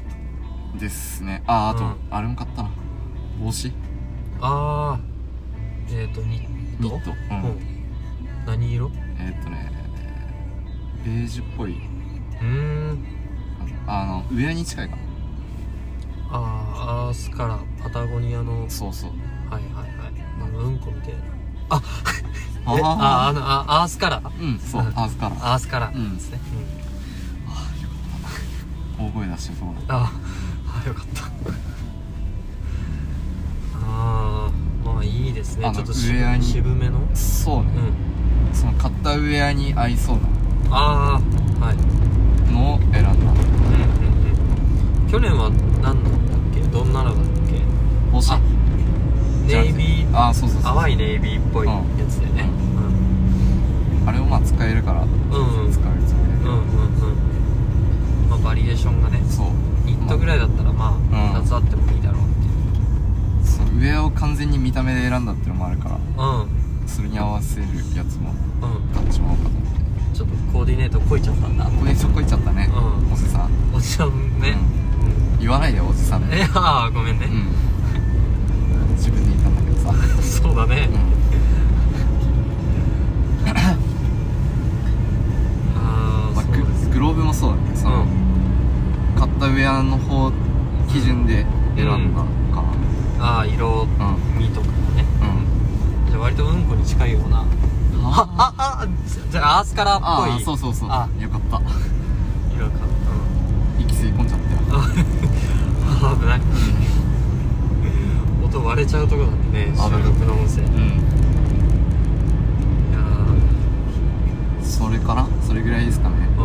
Speaker 2: ですねあああと、
Speaker 1: うん
Speaker 2: あれも買ったな帽子
Speaker 1: ああえっ、とニット
Speaker 2: ニットう
Speaker 1: うんん、何色う
Speaker 2: えーっとねベージュっぽい
Speaker 1: ーん
Speaker 2: あのあのウェアに近いかな
Speaker 1: あーアースからパタゴニアの
Speaker 2: そうそう
Speaker 1: はいはいはいなんかうんこみたいなあ
Speaker 2: あ
Speaker 1: えああ
Speaker 2: あ
Speaker 1: のあアースカラー
Speaker 2: うんそう
Speaker 1: うん
Speaker 2: アースカラー
Speaker 1: アースカラーなんですね、うん
Speaker 2: ああよかったな大声出してそうだ
Speaker 1: ああよかったああまあいいですね
Speaker 2: あの
Speaker 1: ちょっと
Speaker 2: ウェア
Speaker 1: 渋
Speaker 2: に
Speaker 1: 渋めの
Speaker 2: そうね
Speaker 1: う、ん
Speaker 2: その買ったウェアに合いそう
Speaker 1: ああはい
Speaker 2: なのを選んだ
Speaker 1: うんうんうん去年は何だったっけどんなのだっけ
Speaker 2: 帽子
Speaker 1: あ
Speaker 2: じゃな
Speaker 1: ネ
Speaker 2: く
Speaker 1: イ
Speaker 2: て
Speaker 1: ビー
Speaker 2: ああそうそうそう
Speaker 1: 淡いネイビーっぽいやつでね
Speaker 2: あれをまあ使えるから
Speaker 1: うんうんうん
Speaker 2: 使えるつもり
Speaker 1: う
Speaker 2: で
Speaker 1: んうんまあバリエーションがね
Speaker 2: そう
Speaker 1: ニットぐらいだったらまあ
Speaker 2: うん
Speaker 1: 2つあってもいいだろうっていう
Speaker 2: そのウェアを完全に見た目で選んだってのもあるから
Speaker 1: うん
Speaker 2: それに合わせるやつも
Speaker 1: うん
Speaker 2: 買ってしまおうかと思って
Speaker 1: ちょっとコーディネートこいちゃったんだ
Speaker 2: ここでちょっこいっちゃったね
Speaker 1: うん
Speaker 2: おせさん
Speaker 1: おじさんね、うん
Speaker 2: 言わないでおじさん
Speaker 1: い
Speaker 2: ね
Speaker 1: やーごめんね
Speaker 2: う、ん自分で言ったんだけどさ、
Speaker 1: そうだね、あ
Speaker 2: ま
Speaker 1: あ
Speaker 2: あ
Speaker 1: そう
Speaker 2: グ
Speaker 1: です
Speaker 2: グローブもそうだねその、買ったウェアの方基準で選んだか
Speaker 1: ああ色
Speaker 2: なうん
Speaker 1: 味とかね
Speaker 2: うん
Speaker 1: じゃあ割とうんこに近いようなあ
Speaker 2: あ
Speaker 1: ああじゃあアースカラーっ
Speaker 2: あ
Speaker 1: ぽい
Speaker 2: そうそうそう
Speaker 1: あ
Speaker 2: よかった
Speaker 1: 色か
Speaker 2: 息吸い込んじゃった
Speaker 1: う
Speaker 2: よ
Speaker 1: んあ危ない音割れちゃうとこだってね
Speaker 2: 危な
Speaker 1: 収
Speaker 2: い
Speaker 1: 録の音声いや
Speaker 2: うん
Speaker 1: ー
Speaker 2: それからそれぐらいですかね
Speaker 1: う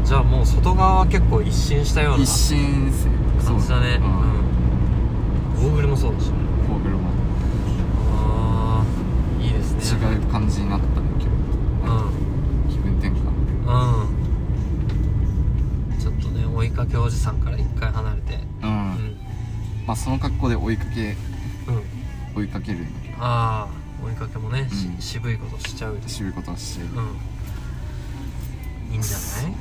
Speaker 1: んじゃあもう外側は結構一新したような
Speaker 2: 一心ですね
Speaker 1: 感じだね
Speaker 2: そううんん
Speaker 1: ゴーグルもそうだしね
Speaker 2: フォーグルも
Speaker 1: ああいいですね
Speaker 2: 違う感じになったね
Speaker 1: うん
Speaker 2: 気分転換
Speaker 1: うんちょっとね追いかけおじさんから一回離れて
Speaker 2: う
Speaker 1: うん
Speaker 2: んまあその格好で追いかけ
Speaker 1: うん
Speaker 2: 追いかけるんだけど
Speaker 1: ああ追いかけもね、し
Speaker 2: うん
Speaker 1: 渋いことしちゃうでし
Speaker 2: 渋いことはして
Speaker 1: ょうんいいんじゃないうん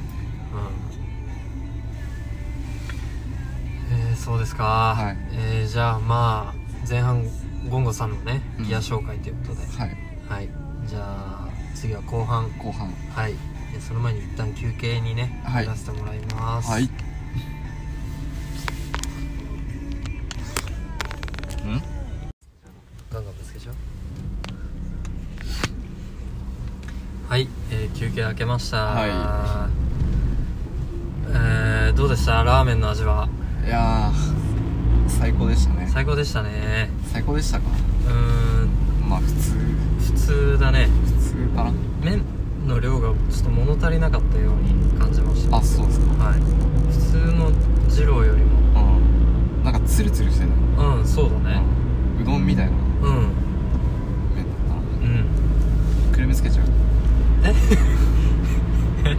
Speaker 1: えー、そうですか、
Speaker 2: はい
Speaker 1: えー、じゃあまあ前半ゴンゴさんのね
Speaker 2: うん
Speaker 1: ギア紹介ということで、
Speaker 2: はい
Speaker 1: はいじゃあ次は後半
Speaker 2: 後半
Speaker 1: はいえーその前に一旦休憩にね
Speaker 2: はい
Speaker 1: 入らせてもらいます
Speaker 2: はいん
Speaker 1: ガンガンぶつけちゃうはい、えー休憩明けました
Speaker 2: は
Speaker 1: えーどうでしたラーメンの味はい
Speaker 2: やー最高でしたね
Speaker 1: 最高でしたね
Speaker 2: 最高でしたか
Speaker 1: うーん
Speaker 2: まあ普通
Speaker 1: 普通だね
Speaker 2: 普通かな
Speaker 1: 麺の量がちょっと物足りなかったように感じました
Speaker 2: あそうですか
Speaker 1: はい普通の二郎よりも
Speaker 2: うんなんかツルツルしてたね
Speaker 1: うんそうだね
Speaker 2: うどんみたいな
Speaker 1: うん
Speaker 2: 麺だったな
Speaker 1: うん
Speaker 2: くるみつけちゃう
Speaker 1: え
Speaker 2: え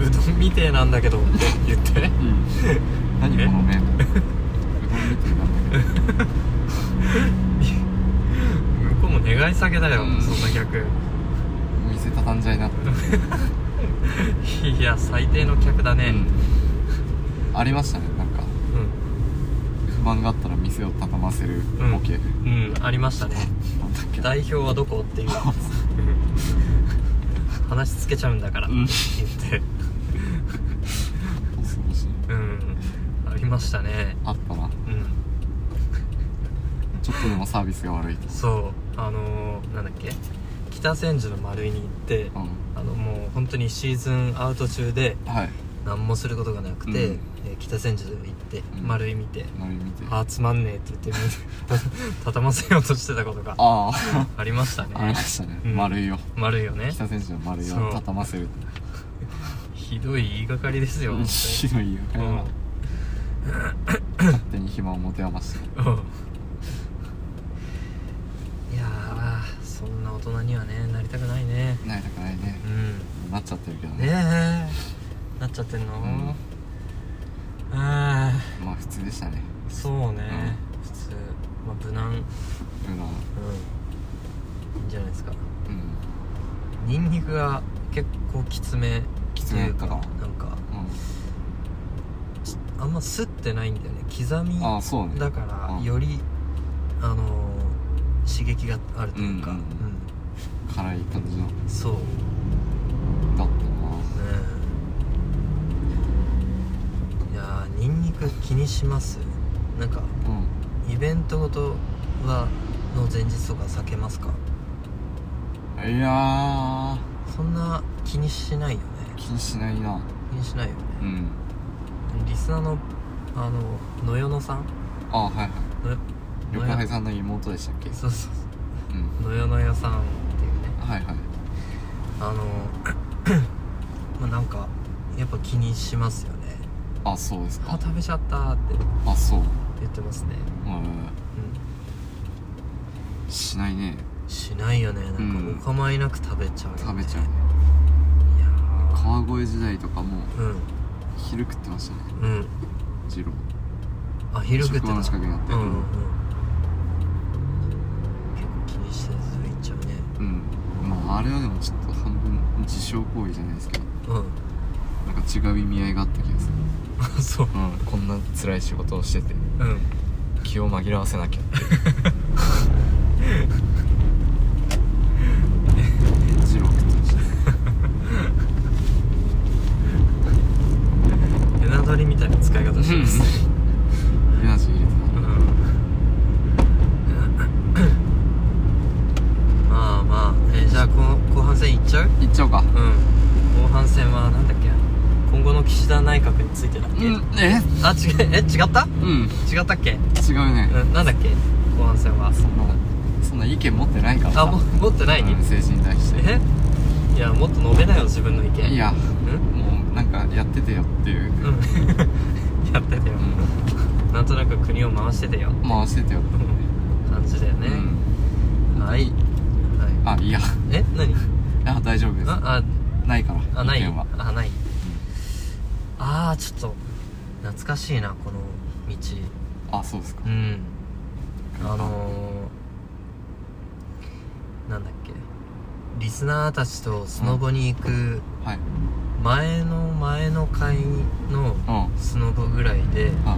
Speaker 1: うどんみてえなんだけどって言って
Speaker 2: うん何この麺う
Speaker 1: 向こうも願い下げだよ、
Speaker 2: うん
Speaker 1: そんな逆
Speaker 2: 店畳んじゃいなって、
Speaker 1: いや最低の客だね
Speaker 2: うんありましたねなんか不満があったら店を畳ませるボケ、
Speaker 1: うん、うんありましたね
Speaker 2: なんだっけ
Speaker 1: 代表はどこっていう話つけちゃうんだから、
Speaker 2: う
Speaker 1: 言
Speaker 2: ん
Speaker 1: って
Speaker 2: 恐ろしい
Speaker 1: うんありましたね
Speaker 2: あったな
Speaker 1: うん
Speaker 2: ちょっとでもサービスが悪いと
Speaker 1: そうあのー、なんだっけ北千住の丸井に行って
Speaker 2: うん
Speaker 1: あのもう本当にシーズンアウト中で
Speaker 2: はい
Speaker 1: 何もすることがなくて、
Speaker 2: うん
Speaker 1: えー北千住行って
Speaker 2: うん
Speaker 1: 丸井見て、
Speaker 2: 飲み見て
Speaker 1: あ
Speaker 2: あ
Speaker 1: あつまんねえって言って み畳ませようとしてたことが
Speaker 2: あ
Speaker 1: ありました
Speaker 2: あり
Speaker 1: ね
Speaker 2: ましたね、
Speaker 1: うん
Speaker 2: 丸いよ
Speaker 1: 丸いよね
Speaker 2: 北選手の丸い
Speaker 1: そう
Speaker 2: を畳ませる
Speaker 1: ひどい言いがかりですよ本
Speaker 2: ひどいよ
Speaker 1: 当にうん
Speaker 2: 勝手に暇を持て余して
Speaker 1: いやーそんな大人にはねなりたくないね
Speaker 2: なりたくないね
Speaker 1: うん
Speaker 2: なっちゃってるけどね
Speaker 1: ねえなっちゃってんの、
Speaker 2: ん
Speaker 1: あ
Speaker 2: まあ普通でしたね
Speaker 1: あそうね、普通まあ無難うんうん
Speaker 2: うな
Speaker 1: いいんじゃないですか
Speaker 2: うん
Speaker 1: ニンニクが結構きつめ
Speaker 2: きつめだったか
Speaker 1: っていうなんか
Speaker 2: う
Speaker 1: あんま吸ってないんだよね刻み
Speaker 2: んああそうね
Speaker 1: だから
Speaker 2: うん
Speaker 1: よりあのー刺激があるというか、
Speaker 2: うんうん辛い感じの
Speaker 1: うんそうね
Speaker 2: だった
Speaker 1: いやーニンニク気にしますなんか
Speaker 2: なうん
Speaker 1: イベントごとはの前日とか避けますか
Speaker 2: いやー
Speaker 1: そんな気にしないよね
Speaker 2: 気にしないな
Speaker 1: 気にしないよね
Speaker 2: うん
Speaker 1: リスナーのあの野よのさん
Speaker 2: あはいはい
Speaker 1: のよ
Speaker 2: 旅
Speaker 1: のよ
Speaker 2: 館配さんの妹でしたっけ
Speaker 1: そうそう
Speaker 2: う
Speaker 1: そ
Speaker 2: ん
Speaker 1: う野よのよさんっていうね
Speaker 2: はいはい
Speaker 1: あの まあなんかやっぱ気にしますよね
Speaker 2: あそうです
Speaker 1: あ
Speaker 2: か
Speaker 1: 食べちゃったって
Speaker 2: あそう
Speaker 1: 言ってますね
Speaker 2: うん
Speaker 1: う
Speaker 2: しないね
Speaker 1: んしないよねなん
Speaker 2: うん
Speaker 1: かお構いなく食べちゃうよね、
Speaker 2: 食べちゃう
Speaker 1: い
Speaker 2: ね
Speaker 1: や
Speaker 2: 川越時代とかも
Speaker 1: ー
Speaker 2: 昼食ってましたね
Speaker 1: うんうん
Speaker 2: 二郎
Speaker 1: あ昼食って
Speaker 2: 職場
Speaker 1: た
Speaker 2: の近くにあって
Speaker 1: うんうんうん結構気にしてずいっちゃうね
Speaker 2: うんまああれはでもちょっと半分自傷行為じゃないですけど
Speaker 1: う
Speaker 2: なんか違う意味合いがあった気がす
Speaker 1: ん そ
Speaker 2: る
Speaker 1: う
Speaker 2: うんこんな辛い仕事をしてて
Speaker 1: うん
Speaker 2: 気を紛らわせ なきゃ二郎食ってましたね
Speaker 1: エナドリみたいな使い方してますね
Speaker 2: エナジー入れて
Speaker 1: うんまあまあ、えーじゃあこの後半戦いっちゃう
Speaker 2: たいっちゃおうか
Speaker 1: うん後半戦はなんだっけ今後の岸田内閣についてだっけ、
Speaker 2: うんえ
Speaker 1: あ違うえ違った
Speaker 2: うん
Speaker 1: 違ったっけ、
Speaker 2: 違うね
Speaker 1: うん、なんだっけ後半戦は
Speaker 2: そんなそんな意見持ってないから
Speaker 1: あも持ってない、
Speaker 2: うん政治に対して
Speaker 1: えいやもっと述べなよ自分の意見
Speaker 2: い
Speaker 1: う
Speaker 2: や
Speaker 1: ん
Speaker 2: もうなんかやっててよっていう、
Speaker 1: うん やっててよ、
Speaker 2: う
Speaker 1: なんとなく国を回しててよ
Speaker 2: ん、回しててよって
Speaker 1: 感じだよね、
Speaker 2: うん、
Speaker 1: はいはい
Speaker 2: あいや
Speaker 1: え何
Speaker 2: あ大丈夫です
Speaker 1: あ
Speaker 2: ないから
Speaker 1: ああない
Speaker 2: 意見は
Speaker 1: あないああちょっと懐かしいなこの道
Speaker 2: あそうですか
Speaker 1: うんあのー、なんだっけリスナーたちとスノボに行く
Speaker 2: はい
Speaker 1: 前の前の回の
Speaker 2: うん
Speaker 1: スノボぐらいで、
Speaker 2: あ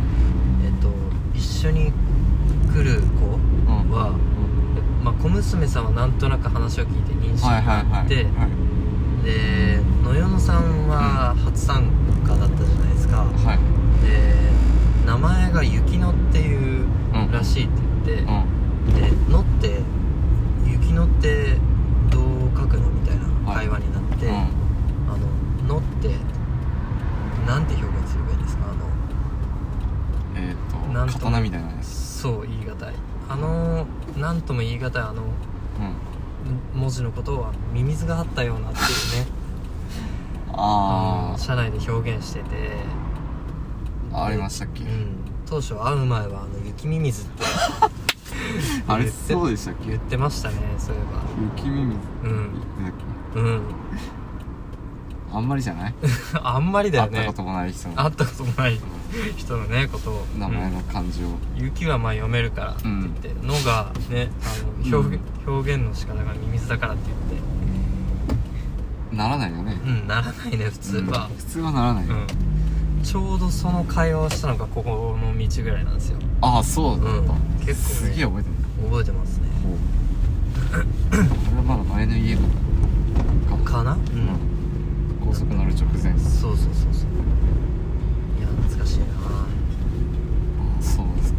Speaker 1: えっと、一緒に来る
Speaker 2: う
Speaker 1: 子
Speaker 2: ん
Speaker 1: は、えまあ、小娘さんはなんとなく話を聞いて認識
Speaker 2: はい
Speaker 1: が
Speaker 2: はい
Speaker 1: あ
Speaker 2: は
Speaker 1: っ
Speaker 2: い
Speaker 1: て、
Speaker 2: はい
Speaker 1: で野与野さんは初参加だったじゃないですか、
Speaker 2: はい
Speaker 1: で名前が雪乃っていう
Speaker 2: うん
Speaker 1: らしいって言
Speaker 2: う
Speaker 1: っ
Speaker 2: ん
Speaker 1: て、で「野」って「雪乃ってどう書くの?」みたいな
Speaker 2: はい
Speaker 1: 会話になって「
Speaker 2: うん
Speaker 1: あの野」ってなんて表現すればいいですかあの
Speaker 2: えっ
Speaker 1: な
Speaker 2: と
Speaker 1: んと
Speaker 2: 刀みたいなやつ
Speaker 1: そう言い難いあの何とも言い難いあの
Speaker 2: うん
Speaker 1: 文字のことはミミズがあったようなっていうね
Speaker 2: あ
Speaker 1: の社内で表現してて
Speaker 2: あありましたっけ
Speaker 1: うん当初会う前はあの雪ミミズって
Speaker 2: あれ
Speaker 1: 言って
Speaker 2: そうでしたっ
Speaker 1: 言
Speaker 2: け
Speaker 1: ってましたねそういえば
Speaker 2: 雪耳だっ
Speaker 1: うん
Speaker 2: け
Speaker 1: うん
Speaker 2: あんまりじゃない
Speaker 1: あんま りだよ
Speaker 2: 会った
Speaker 1: ね
Speaker 2: こともない人の
Speaker 1: 会ったこともない人のねことを
Speaker 2: 名前の漢字を、
Speaker 1: うん雪はまあ読めるからって言って、のがねあの表現表現の仕方がミミズだからって言って
Speaker 2: ならないよね、
Speaker 1: うんならないね普通は
Speaker 2: うん普通はならない、
Speaker 1: う
Speaker 2: よ
Speaker 1: ん、ちょうどその会話をしたのがここの道ぐらいなんですよ
Speaker 2: ああそうだった、
Speaker 1: うん結構ね
Speaker 2: すげえ覚えてる
Speaker 1: 覚えてますね
Speaker 2: こう俺はまだ前の家かな
Speaker 1: かなう
Speaker 2: うんん高速乗る直前あ
Speaker 1: そうそうそうそういや懐かしいな
Speaker 2: あそうですか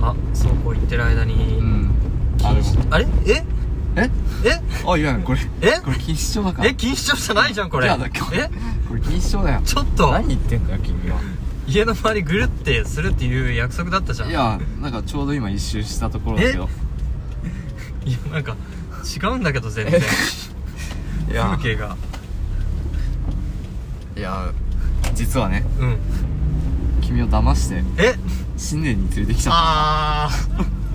Speaker 1: うんあそうこう言ってる間に、
Speaker 2: うん
Speaker 1: 禁
Speaker 2: あでも
Speaker 1: 止あれえ
Speaker 2: え
Speaker 1: え
Speaker 2: あいやこれ
Speaker 1: え
Speaker 2: これ錦糸町だから
Speaker 1: え錦糸町じゃないじゃんこれ
Speaker 2: じゃあだこれ
Speaker 1: え
Speaker 2: これ錦糸町だよ
Speaker 1: ちょっと
Speaker 2: 何言ってんだよ君は
Speaker 1: 家の周りぐるってするっていう約束だったじゃん
Speaker 2: いやなんかちょうど今一周したところだけど
Speaker 1: いやなんか違うんだけど全然
Speaker 2: い
Speaker 1: 風
Speaker 2: や
Speaker 1: 景が
Speaker 2: いや実はね
Speaker 1: うん
Speaker 2: 君を騙して
Speaker 1: え
Speaker 2: 新年に連れてきちゃっ
Speaker 1: ああ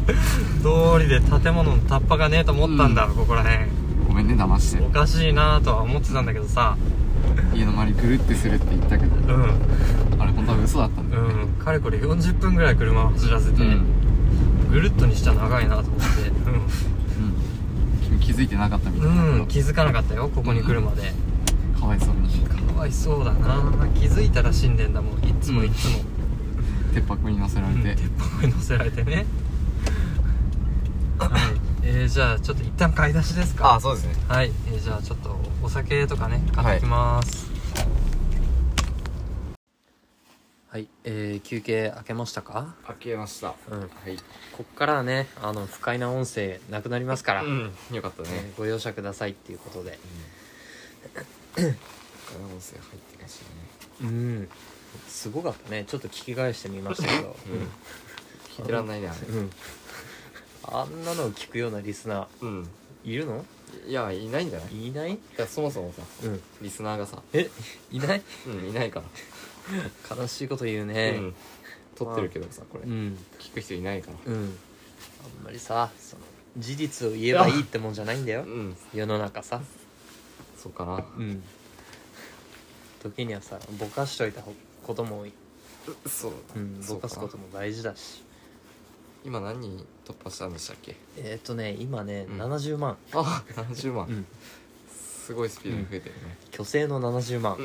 Speaker 1: 通りで建物のタッパがねえと思ったんだ、
Speaker 2: う
Speaker 1: ここら辺
Speaker 2: たごめんね騙して
Speaker 1: おかしいなとは思ってたんだけどさ
Speaker 2: 家の周りぐるってするって言ったけど
Speaker 1: うん
Speaker 2: あれ本当は嘘だったんだよ
Speaker 1: う
Speaker 2: ね
Speaker 1: んかれこれ40分ぐらい車を走らせて、ぐるっとにしちゃ長いなと思って
Speaker 2: うん君気づいてなかったみた
Speaker 1: う
Speaker 2: い
Speaker 1: ん、う、
Speaker 2: なん
Speaker 1: 気づかなかったよここに来るまで、
Speaker 2: かわいそうに
Speaker 1: かわいそうだな気づいたら死んでんだもんいっつもいっつも、
Speaker 2: 鉄箱に乗せら
Speaker 1: う
Speaker 2: れ
Speaker 1: ん、
Speaker 2: て
Speaker 1: 鉄板に乗せられてねはいえー、じゃあちょっと一旦買い出しですか
Speaker 2: そうですね
Speaker 1: はい、えー、じゃあちょっとお酒とかね買ってきますはい、えー、休憩開けましたか
Speaker 2: 開けましたは
Speaker 1: うん
Speaker 2: い
Speaker 1: こっからはねあの不快な音声なくなりますから、
Speaker 2: んよかった
Speaker 1: えーご容赦くださいっていうことで
Speaker 2: ガラ音声入ってましたね
Speaker 1: うんすごかったねちょっと聞き返してみましたけど、
Speaker 2: 聞いてらんないねあれ
Speaker 1: うん、あんなのを聞くようなリスナ
Speaker 2: うん
Speaker 1: ーいるの
Speaker 2: いやいないんじゃないい
Speaker 1: いない
Speaker 2: やそもそもさ
Speaker 1: うん
Speaker 2: リスナーがさ
Speaker 1: えいない
Speaker 2: うんいないから
Speaker 1: 悲しいこと言うね
Speaker 2: うん撮ってるけどさこれ
Speaker 1: ん
Speaker 2: 聞く人いないから
Speaker 1: うん、あんまりさその事実を言えばいいってもんじゃないんだよ
Speaker 2: うん
Speaker 1: 世の中さ
Speaker 2: そうかな
Speaker 1: うん時にはさぼかしといたことも、
Speaker 2: そう
Speaker 1: うん、ぼかすことも大事だし
Speaker 2: 今何人突破したんでしたっけ
Speaker 1: えーっ、とね今ね、
Speaker 2: うん
Speaker 1: 70万、
Speaker 2: あ70万、
Speaker 1: うん、
Speaker 2: すごいスピードで増えてるね、
Speaker 1: 虚勢の70万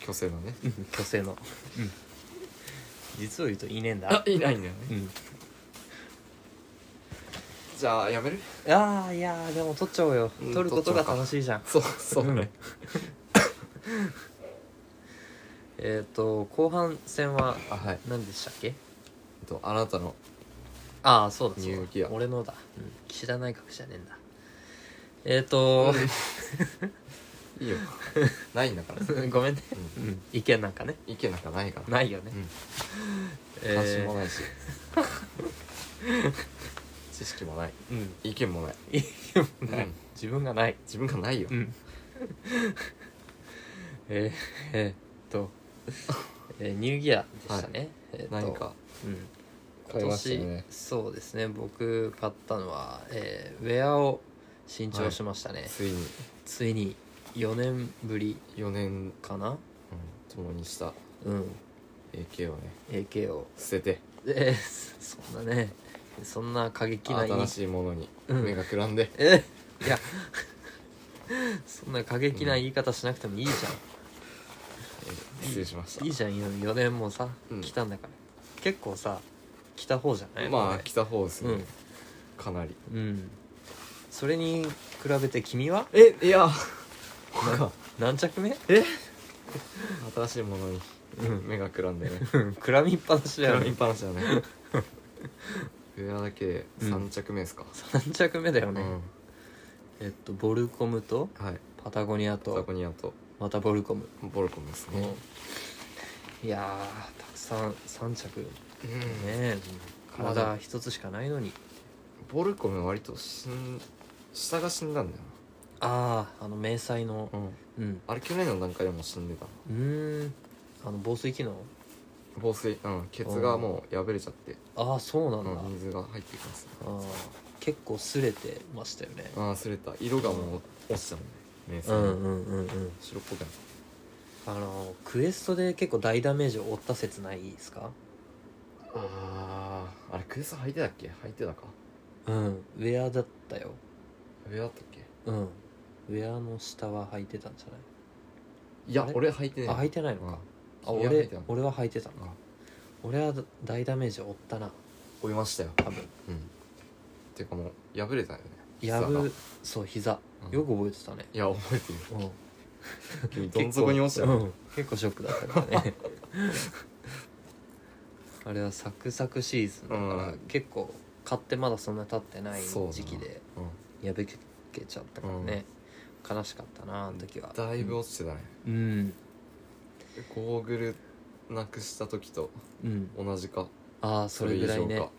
Speaker 2: 虚勢のね
Speaker 1: うん虚勢の、実を言うといいねえんだ
Speaker 2: あいないんだよね
Speaker 1: うん
Speaker 2: じゃあやめる
Speaker 1: あーいやーでも取っちゃおうよ、
Speaker 2: うん
Speaker 1: 取ることが楽しいじゃん
Speaker 2: そうそうね
Speaker 1: えーっ、と後半戦は
Speaker 2: あはい
Speaker 1: 何でしたっけ
Speaker 2: えっとあなたの
Speaker 1: ああそうだそうだ
Speaker 2: 入気や
Speaker 1: 俺のだ、うん、岸田内閣じゃねえんだえっ、ー、と
Speaker 2: いいよないんだ から、う ん、
Speaker 1: ごめんね、うん、意見なんかね
Speaker 2: 意見なんかないから
Speaker 1: ないよね、
Speaker 2: うん
Speaker 1: え
Speaker 2: 関心
Speaker 1: ー
Speaker 2: もないし、 知識もない
Speaker 1: うん
Speaker 2: 意見もない
Speaker 1: 意見もない、
Speaker 2: うん
Speaker 1: 自分がない
Speaker 2: 自分がないよ、
Speaker 1: うん えー、えーっと、えーニューギアでしたね、えーっと
Speaker 2: 何か
Speaker 1: うん
Speaker 2: 買い
Speaker 1: 今
Speaker 2: まし
Speaker 1: 年、
Speaker 2: たよね
Speaker 1: そうですね僕買ったのは、えーウェアを新調しましたね、
Speaker 2: ついに
Speaker 1: ついに4年ぶり
Speaker 2: 4年、うん、
Speaker 1: かな
Speaker 2: 共にした
Speaker 1: うん
Speaker 2: AK をね
Speaker 1: AK を
Speaker 2: 捨てて
Speaker 1: えーそそんなねそんな過激な
Speaker 2: 新しいものに
Speaker 1: うん
Speaker 2: 目がくらんで、
Speaker 1: えいやそんな過激な言い方しなくてもいいじ
Speaker 2: えー失礼しまし
Speaker 1: ゃ
Speaker 2: た
Speaker 1: んいいじゃん4年もさ、
Speaker 2: うん
Speaker 1: 来たんだから結構さ来た方じゃない
Speaker 2: まあ
Speaker 1: これ
Speaker 2: 来た方ですね、
Speaker 1: うん
Speaker 2: かなり
Speaker 1: うんそれに比べて君は
Speaker 2: えいやなん
Speaker 1: な
Speaker 2: か
Speaker 1: 何着目
Speaker 2: 新しいものに
Speaker 1: うん
Speaker 2: 目がくらんで ね
Speaker 1: うんくらみっぱなし
Speaker 2: く
Speaker 1: だ
Speaker 2: ら
Speaker 1: よ
Speaker 2: みっ
Speaker 1: ね
Speaker 2: ぱなしだね ウェアだけで3着目ですか、
Speaker 1: 3着目だよ
Speaker 2: うん
Speaker 1: ね、えっとボルコムと
Speaker 2: はい
Speaker 1: パタゴニア
Speaker 2: パタ
Speaker 1: と
Speaker 2: ゴニアと
Speaker 1: またボルコム、
Speaker 2: ボルコムですね
Speaker 1: いやーたくさん3着ね
Speaker 2: うん
Speaker 1: え
Speaker 2: まあ
Speaker 1: 体一つしかないのに
Speaker 2: ボルコムは割と死ん下が死んだんだよ
Speaker 1: あああの迷彩の
Speaker 2: な、
Speaker 1: うん
Speaker 2: あれ去年の段階でも死んでた
Speaker 1: うーんあの防水機能
Speaker 2: 防水うんケツがもう破れちゃって、
Speaker 1: ああそうなんだ、
Speaker 2: うん水が入ってきます
Speaker 1: ああ結構擦れてましたよね
Speaker 2: ああ擦れた色がもう落ちたもんね目線
Speaker 1: うんうんうん
Speaker 2: 白っぽくなった
Speaker 1: あのクエストで結構大ダメージを負った説ないですか
Speaker 2: あああれクエスト履いてたっけ履いてたか
Speaker 1: うんウェアだったよ
Speaker 2: 上だったっけ
Speaker 1: うんウェアの下は履いてたんじゃないあ
Speaker 2: いや
Speaker 1: れ
Speaker 2: 俺履いて
Speaker 1: あ履い
Speaker 2: て
Speaker 1: てないのか、あ
Speaker 2: 君は履い
Speaker 1: 俺
Speaker 2: てたの
Speaker 1: 俺は履いてたの
Speaker 2: あ
Speaker 1: か俺は大ダメージを負ったな
Speaker 2: 追いましたよ
Speaker 1: 多分
Speaker 2: うんていうかもう破れたよね
Speaker 1: や
Speaker 2: 膝が
Speaker 1: ぶそう膝、
Speaker 2: うん
Speaker 1: よく覚えてたね
Speaker 2: いや覚え てる
Speaker 1: うん
Speaker 2: 君どん底に落ちたよ
Speaker 1: うん結構ショックだったからね あれはサクサクシーズンだから、
Speaker 2: うん
Speaker 1: 結構買ってまだそんな経ってない
Speaker 2: そうだな
Speaker 1: 時期で
Speaker 2: う
Speaker 1: やべけちゃったからね、悲しかったなあの時は
Speaker 2: んだいぶ落ちてたね
Speaker 1: うん
Speaker 2: ゴーグルなくした時と
Speaker 1: うん
Speaker 2: 同じか
Speaker 1: ああそれぐらい
Speaker 2: 以
Speaker 1: ね
Speaker 2: 上か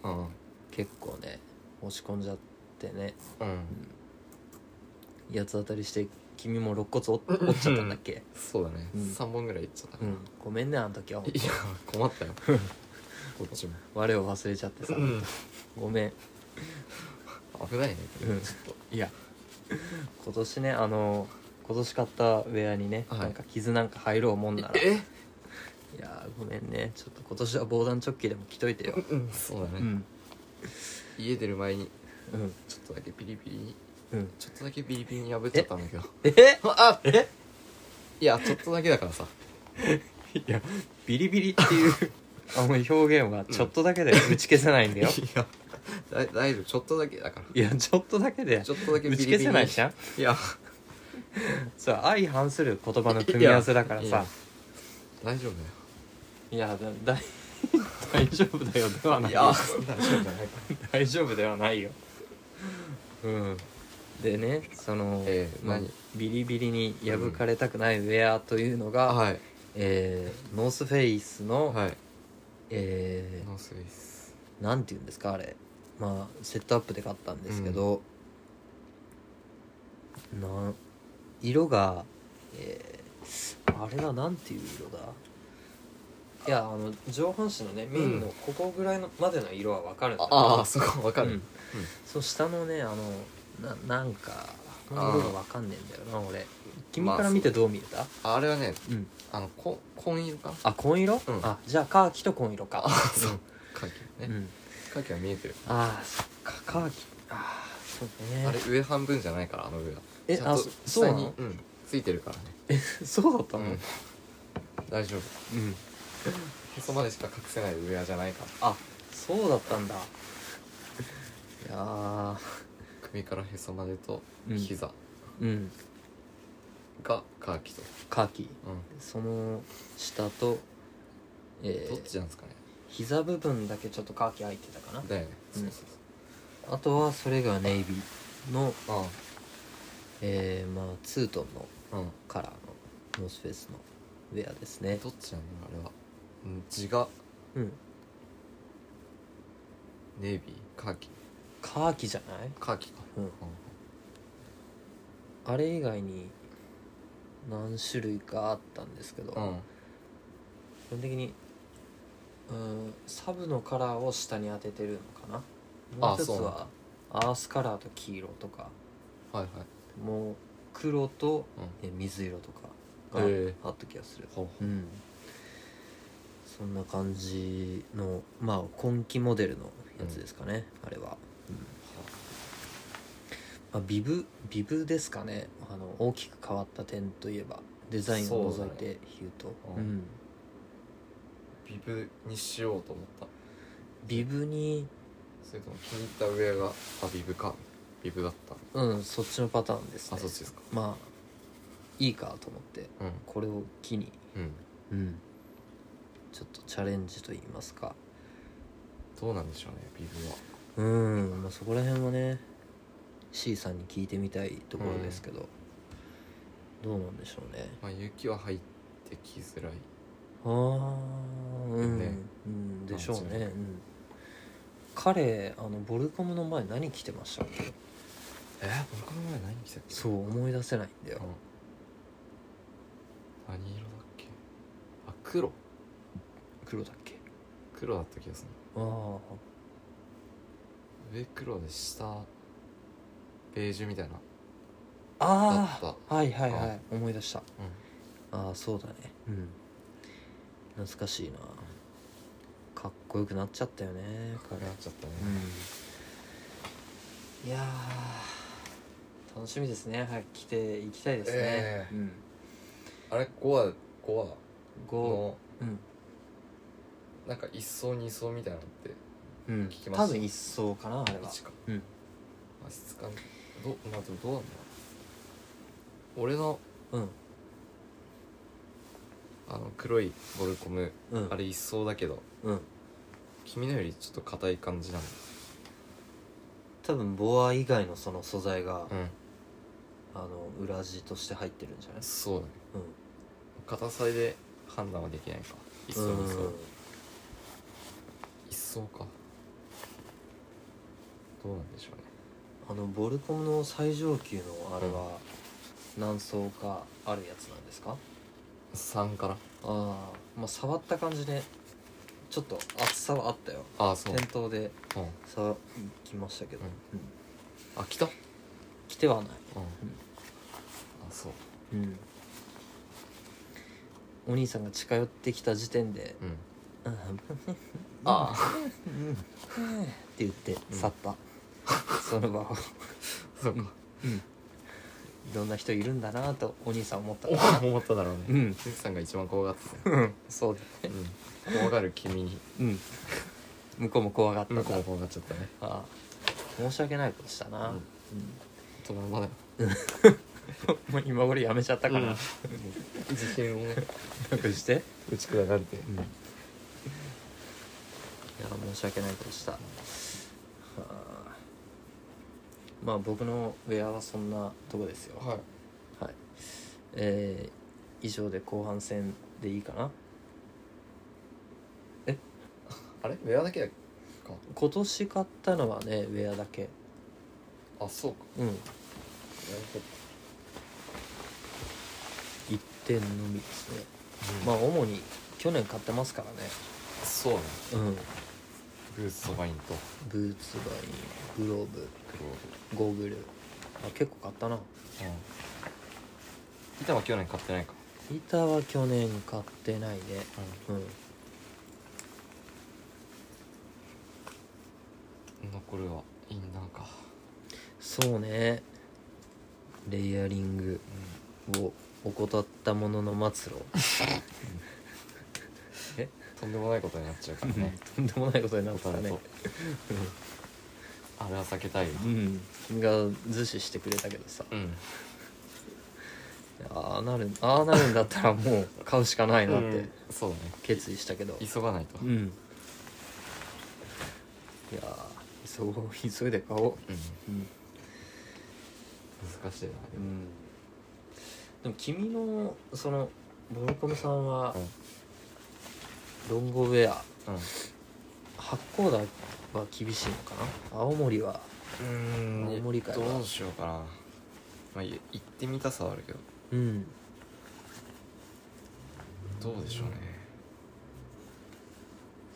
Speaker 1: 結構ね押し込んじゃってね
Speaker 2: うんうん
Speaker 1: 八つ当たりして君も肋骨折折っちゃったんだっ け
Speaker 2: そうだね
Speaker 1: うん
Speaker 2: 3本ぐらいいっちゃった
Speaker 1: うんごめんねあの時は本
Speaker 2: い
Speaker 1: 当
Speaker 2: や困 ったよこっちも
Speaker 1: 我を忘れちゃってさ
Speaker 2: うん
Speaker 1: ごめん
Speaker 2: 危ないね
Speaker 1: うん
Speaker 2: ちょっ
Speaker 1: いや今年ねあの今年買ったウェアにね、
Speaker 2: はい
Speaker 1: なんか傷なんか入ろうもんな
Speaker 2: と
Speaker 1: らい
Speaker 2: え
Speaker 1: やーごめんねちょっと今年は防弾チョッキでも着といてよ
Speaker 2: うんそうだ
Speaker 1: う
Speaker 2: ね
Speaker 1: ん
Speaker 2: 家出る前に
Speaker 1: うん
Speaker 2: ちょっとだけピリピリに
Speaker 1: うん
Speaker 2: ちょっとだけピリピリに破っちゃったんだけど
Speaker 1: え
Speaker 2: あ
Speaker 1: え
Speaker 2: いやちょっとだけだからさ
Speaker 1: いやビリビリっていう あの表現はちょっとだけで打ち消せないんだ
Speaker 2: い
Speaker 1: よ、
Speaker 2: やだ大丈夫ちょっとだけだから
Speaker 1: いやちょっとだけで
Speaker 2: ちょっとだけビ
Speaker 1: 打ち
Speaker 2: リビリ
Speaker 1: 消せないじゃん
Speaker 2: いや
Speaker 1: そう相反する言葉の組み合わせだから
Speaker 2: いや
Speaker 1: さ
Speaker 2: 大丈夫だよ
Speaker 1: い やだだ大丈夫だよではない
Speaker 2: い
Speaker 1: よ
Speaker 2: や大丈夫じゃないか
Speaker 1: 大丈夫ではないようんでねその、
Speaker 2: えー
Speaker 1: まあ
Speaker 2: 何
Speaker 1: ビリビリに破かれたくないウェアというのが、
Speaker 2: はい
Speaker 1: えーノースフェイスの、
Speaker 2: はい
Speaker 1: え
Speaker 2: ノースウェイス
Speaker 1: ーなんて言うんですかあれまあセットアップで買ったんですけど、な色が、えーあれはなんていう色だいやあの上半身のねメインのここぐらいのまでの色は分かるんだけど、
Speaker 2: ああそこわか
Speaker 1: うん
Speaker 2: る
Speaker 1: そう下のねあのななんかこの色がわかんねえんだよな俺君
Speaker 2: まあ
Speaker 1: から見てどう見えた、
Speaker 2: あれはね
Speaker 1: うん
Speaker 2: あのこ紺色かな
Speaker 1: あ紺色、
Speaker 2: うん
Speaker 1: あじゃあカーキと紺色か
Speaker 2: あそうカーキ
Speaker 1: う
Speaker 2: ね
Speaker 1: ん、
Speaker 2: カーキは見えてる
Speaker 1: あーそっかカーキああそうね
Speaker 2: あれ上半分じゃないからあの上は
Speaker 1: え
Speaker 2: ちゃん
Speaker 1: あ
Speaker 2: と
Speaker 1: そそう
Speaker 2: 下
Speaker 1: な
Speaker 2: に
Speaker 1: の
Speaker 2: うんついてるからね
Speaker 1: そうだったの
Speaker 2: うん大丈夫
Speaker 1: うん
Speaker 2: へそまでしか隠せないウェアじゃないから
Speaker 1: あそうだったん だいやー
Speaker 2: 首からへそまでと
Speaker 1: うん
Speaker 2: 膝
Speaker 1: うん
Speaker 2: がカーキと、
Speaker 1: カーキ
Speaker 2: う
Speaker 1: その下とえ
Speaker 2: ん、どっ
Speaker 1: ー、
Speaker 2: ちなんですかね
Speaker 1: 膝部分だけちょっとカーキ入ってたかな
Speaker 2: だよね
Speaker 1: う
Speaker 2: そ
Speaker 1: ん
Speaker 2: うそう
Speaker 1: あとはそれがネイビーの、
Speaker 2: そう
Speaker 1: えー、まあツートンの
Speaker 2: ああうん
Speaker 1: カラーのノースフェイスのウェアですね
Speaker 2: どっちなのあれはうん地が
Speaker 1: うん
Speaker 2: ネイビーカーキ
Speaker 1: カーキじゃない
Speaker 2: カーキか
Speaker 1: うんあれ以外に何種類かあったんですけど、
Speaker 2: うん、
Speaker 1: 基本的にうんサブのカラーを下に当ててるのかなもう
Speaker 2: あ
Speaker 1: 一つ
Speaker 2: そうなん
Speaker 1: はアースカラーと黄色とか
Speaker 2: はいはい
Speaker 1: もう黒と、
Speaker 2: うん
Speaker 1: え水色とかが
Speaker 2: へー
Speaker 1: あった気がする、
Speaker 2: ほう
Speaker 1: うんそんな感じのまあ今季モデルのやつですかね、あれは、まあ、ビブビブですかねあの大きく変わった点といえばデザインを除いて言うと
Speaker 2: そうだねうんビブにしようと思った
Speaker 1: ビブに
Speaker 2: それとも気に入ったウェアがあビブかビブだった
Speaker 1: うんそっちのパターンです
Speaker 2: あ
Speaker 1: ね
Speaker 2: そっちですか
Speaker 1: まあいいかと思って
Speaker 2: うん
Speaker 1: これを機に
Speaker 2: うん
Speaker 1: うんちょっとチャレンジと言いますか
Speaker 2: どうなんでしょうねビブは
Speaker 1: うん、まあ、そこら辺はね C さんに聞いてみたいところですけど、どうなんでしょうね
Speaker 2: まあ雪は入ってきづらい
Speaker 1: ああうん、
Speaker 2: ね
Speaker 1: うん、でしょう
Speaker 2: なん
Speaker 1: ね、
Speaker 2: で
Speaker 1: う
Speaker 2: す
Speaker 1: ん、
Speaker 2: よ
Speaker 1: 彼あのボルコムの前何着てましたっけ
Speaker 2: え僕の前何着てたっけ
Speaker 1: そう思い出せないんだよ
Speaker 2: うん何色だっけあ黒
Speaker 1: 黒だっけ
Speaker 2: 黒だった気がす
Speaker 1: あ
Speaker 2: る
Speaker 1: あ
Speaker 2: 上黒で下ベージュみたいな
Speaker 1: あ
Speaker 2: だっ
Speaker 1: あはいはいは
Speaker 2: あ
Speaker 1: い思い出した
Speaker 2: うん
Speaker 1: ああそうだねうん懐かしいなかっこよくなっちゃったよね彼
Speaker 2: なっちゃったね、
Speaker 1: いやー楽しみですね早く来ていきたいですね、
Speaker 2: ええあれ5話5話
Speaker 1: うん、5
Speaker 2: の
Speaker 1: うん、
Speaker 2: なんか1層2層みたいなのって
Speaker 1: うん、
Speaker 2: 聞きました
Speaker 1: 多分一層かなあれは
Speaker 2: 1か
Speaker 1: うん
Speaker 2: まあ質感どまあでもどうなんだろう俺の
Speaker 1: うん
Speaker 2: あの黒いボルコム
Speaker 1: うん
Speaker 2: あれ1層だけど
Speaker 1: うん
Speaker 2: 君のよりちょっと硬い感じなんだ
Speaker 1: 多分ボア以外のその素材が、
Speaker 2: う
Speaker 1: あの裏地として入ってるんじゃない
Speaker 2: んそうだね
Speaker 1: うん
Speaker 2: 硬さで判断はできないか1層
Speaker 1: うん
Speaker 2: 2層1層かどうなんでしょうね
Speaker 1: あのボルコムの最上級のあれは何層かあるやつなんですか
Speaker 2: 3から
Speaker 1: ああまあ触った感じでちょっと厚さはあったよ
Speaker 2: ああそう、
Speaker 1: 店頭で
Speaker 2: うん、
Speaker 1: 触きましたけど、うん
Speaker 2: あ来た
Speaker 1: 来てはない
Speaker 2: うん、あそう
Speaker 1: うんお兄さんが近寄ってきた時点で
Speaker 2: うん
Speaker 1: 「ああ
Speaker 2: ああ
Speaker 1: うんって言って去った、 その場を
Speaker 2: そうか
Speaker 1: いろんな人いるんだなとお兄さん思ったから
Speaker 2: 思っただろう
Speaker 1: う
Speaker 2: ね
Speaker 1: ん
Speaker 2: 鈴木さんが一番怖がってた、
Speaker 1: そうだ
Speaker 2: う
Speaker 1: ね
Speaker 2: ん、怖がる君に
Speaker 1: うん向こうも怖がったんだ
Speaker 2: 向こうも怖がっちゃったね
Speaker 1: ああ申し訳ないことしたな、
Speaker 2: うん大人まだ
Speaker 1: もう今頃やめちゃったから、
Speaker 2: う
Speaker 1: なん
Speaker 2: ん自信をね
Speaker 1: かしてい
Speaker 2: 打ち砕かれて
Speaker 1: や申し訳ないことした、はあまあ僕のウェアはそんなとこですよ
Speaker 2: はい
Speaker 1: はい、えー以上で後半戦でいいかな
Speaker 2: あれウェアだけだか
Speaker 1: 今年買ったのはねウェアだけ
Speaker 2: あそうか
Speaker 1: うん
Speaker 2: なるほど
Speaker 1: 1点のみですねまあ主に去年買ってますからね
Speaker 2: あそうね
Speaker 1: うん
Speaker 2: ブーツとバインと
Speaker 1: ブーツバイングローブ
Speaker 2: クロー
Speaker 1: ゴーグルあ結構買ったな
Speaker 2: ブうん板は去年買ってないか
Speaker 1: 板は去年買ってないねうん
Speaker 2: うん残るはインナーか
Speaker 1: そうねレイヤリングを怠ったものの末路
Speaker 2: とんでもないことになっちゃうからね
Speaker 1: とんでもないことにな
Speaker 2: 大
Speaker 1: った
Speaker 2: 人
Speaker 1: ね
Speaker 2: とあれは避けたいよ
Speaker 1: うん君が図示してくれたけどさ
Speaker 2: うん
Speaker 1: ああなるああなるんだったらもう買うしかないなって
Speaker 2: そうだね
Speaker 1: 決意したけど
Speaker 2: 急がないと
Speaker 1: うんいやー急ごう急いで買おうう
Speaker 2: うん
Speaker 1: ん、
Speaker 2: 難しいな
Speaker 1: でも君のそのボルコムさんは
Speaker 2: うん
Speaker 1: ロングウェア
Speaker 2: うん
Speaker 1: 八甲田は厳しいのかな青森は
Speaker 2: うん
Speaker 1: 青森かよ
Speaker 2: どうしようかなまあい行ってみたさはあるけど
Speaker 1: うん
Speaker 2: どうでしょうね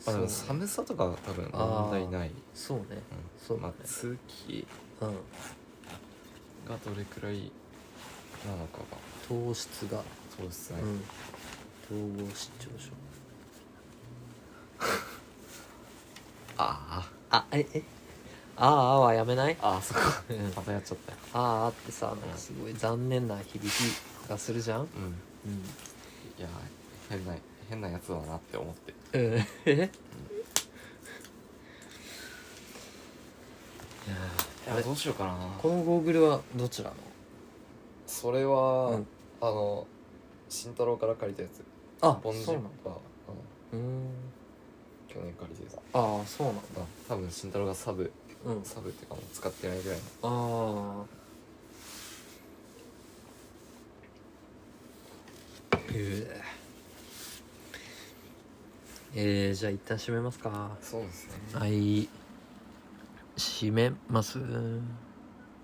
Speaker 2: まあでも
Speaker 1: そうね
Speaker 2: 寒さとかは多分問題ない
Speaker 1: そうね
Speaker 2: うん
Speaker 1: そうだ
Speaker 2: ま
Speaker 1: ね
Speaker 2: あ通気
Speaker 1: うん
Speaker 2: がどれくらいなのかが
Speaker 1: 糖質が、
Speaker 2: そうですね
Speaker 1: うん統合失調症
Speaker 2: あ
Speaker 1: あええあーあーはやめない
Speaker 2: あああそっか
Speaker 1: うん
Speaker 2: またやっちゃったよ
Speaker 1: ああってさなんかすごい残念な響きがするじゃん
Speaker 2: うん
Speaker 1: うん
Speaker 2: いや変な変なやつだなって思って
Speaker 1: うんえいやーあれ
Speaker 2: どうしようかな
Speaker 1: このゴーグルはどちらの
Speaker 2: それは、
Speaker 1: うん
Speaker 2: あの慎太郎から借りたやつ
Speaker 1: あ
Speaker 2: ボンジ
Speaker 1: そう
Speaker 2: ッ
Speaker 1: なの
Speaker 2: パー、うん、
Speaker 1: うーん
Speaker 2: 去年借りてた
Speaker 1: ああそうなんだ
Speaker 2: あ多分慎太郎がサブ
Speaker 1: うん
Speaker 2: サブっていうかもう使ってないぐらいの
Speaker 1: ああええー、じゃあ一旦閉めますか
Speaker 2: そうですね
Speaker 1: はい閉めます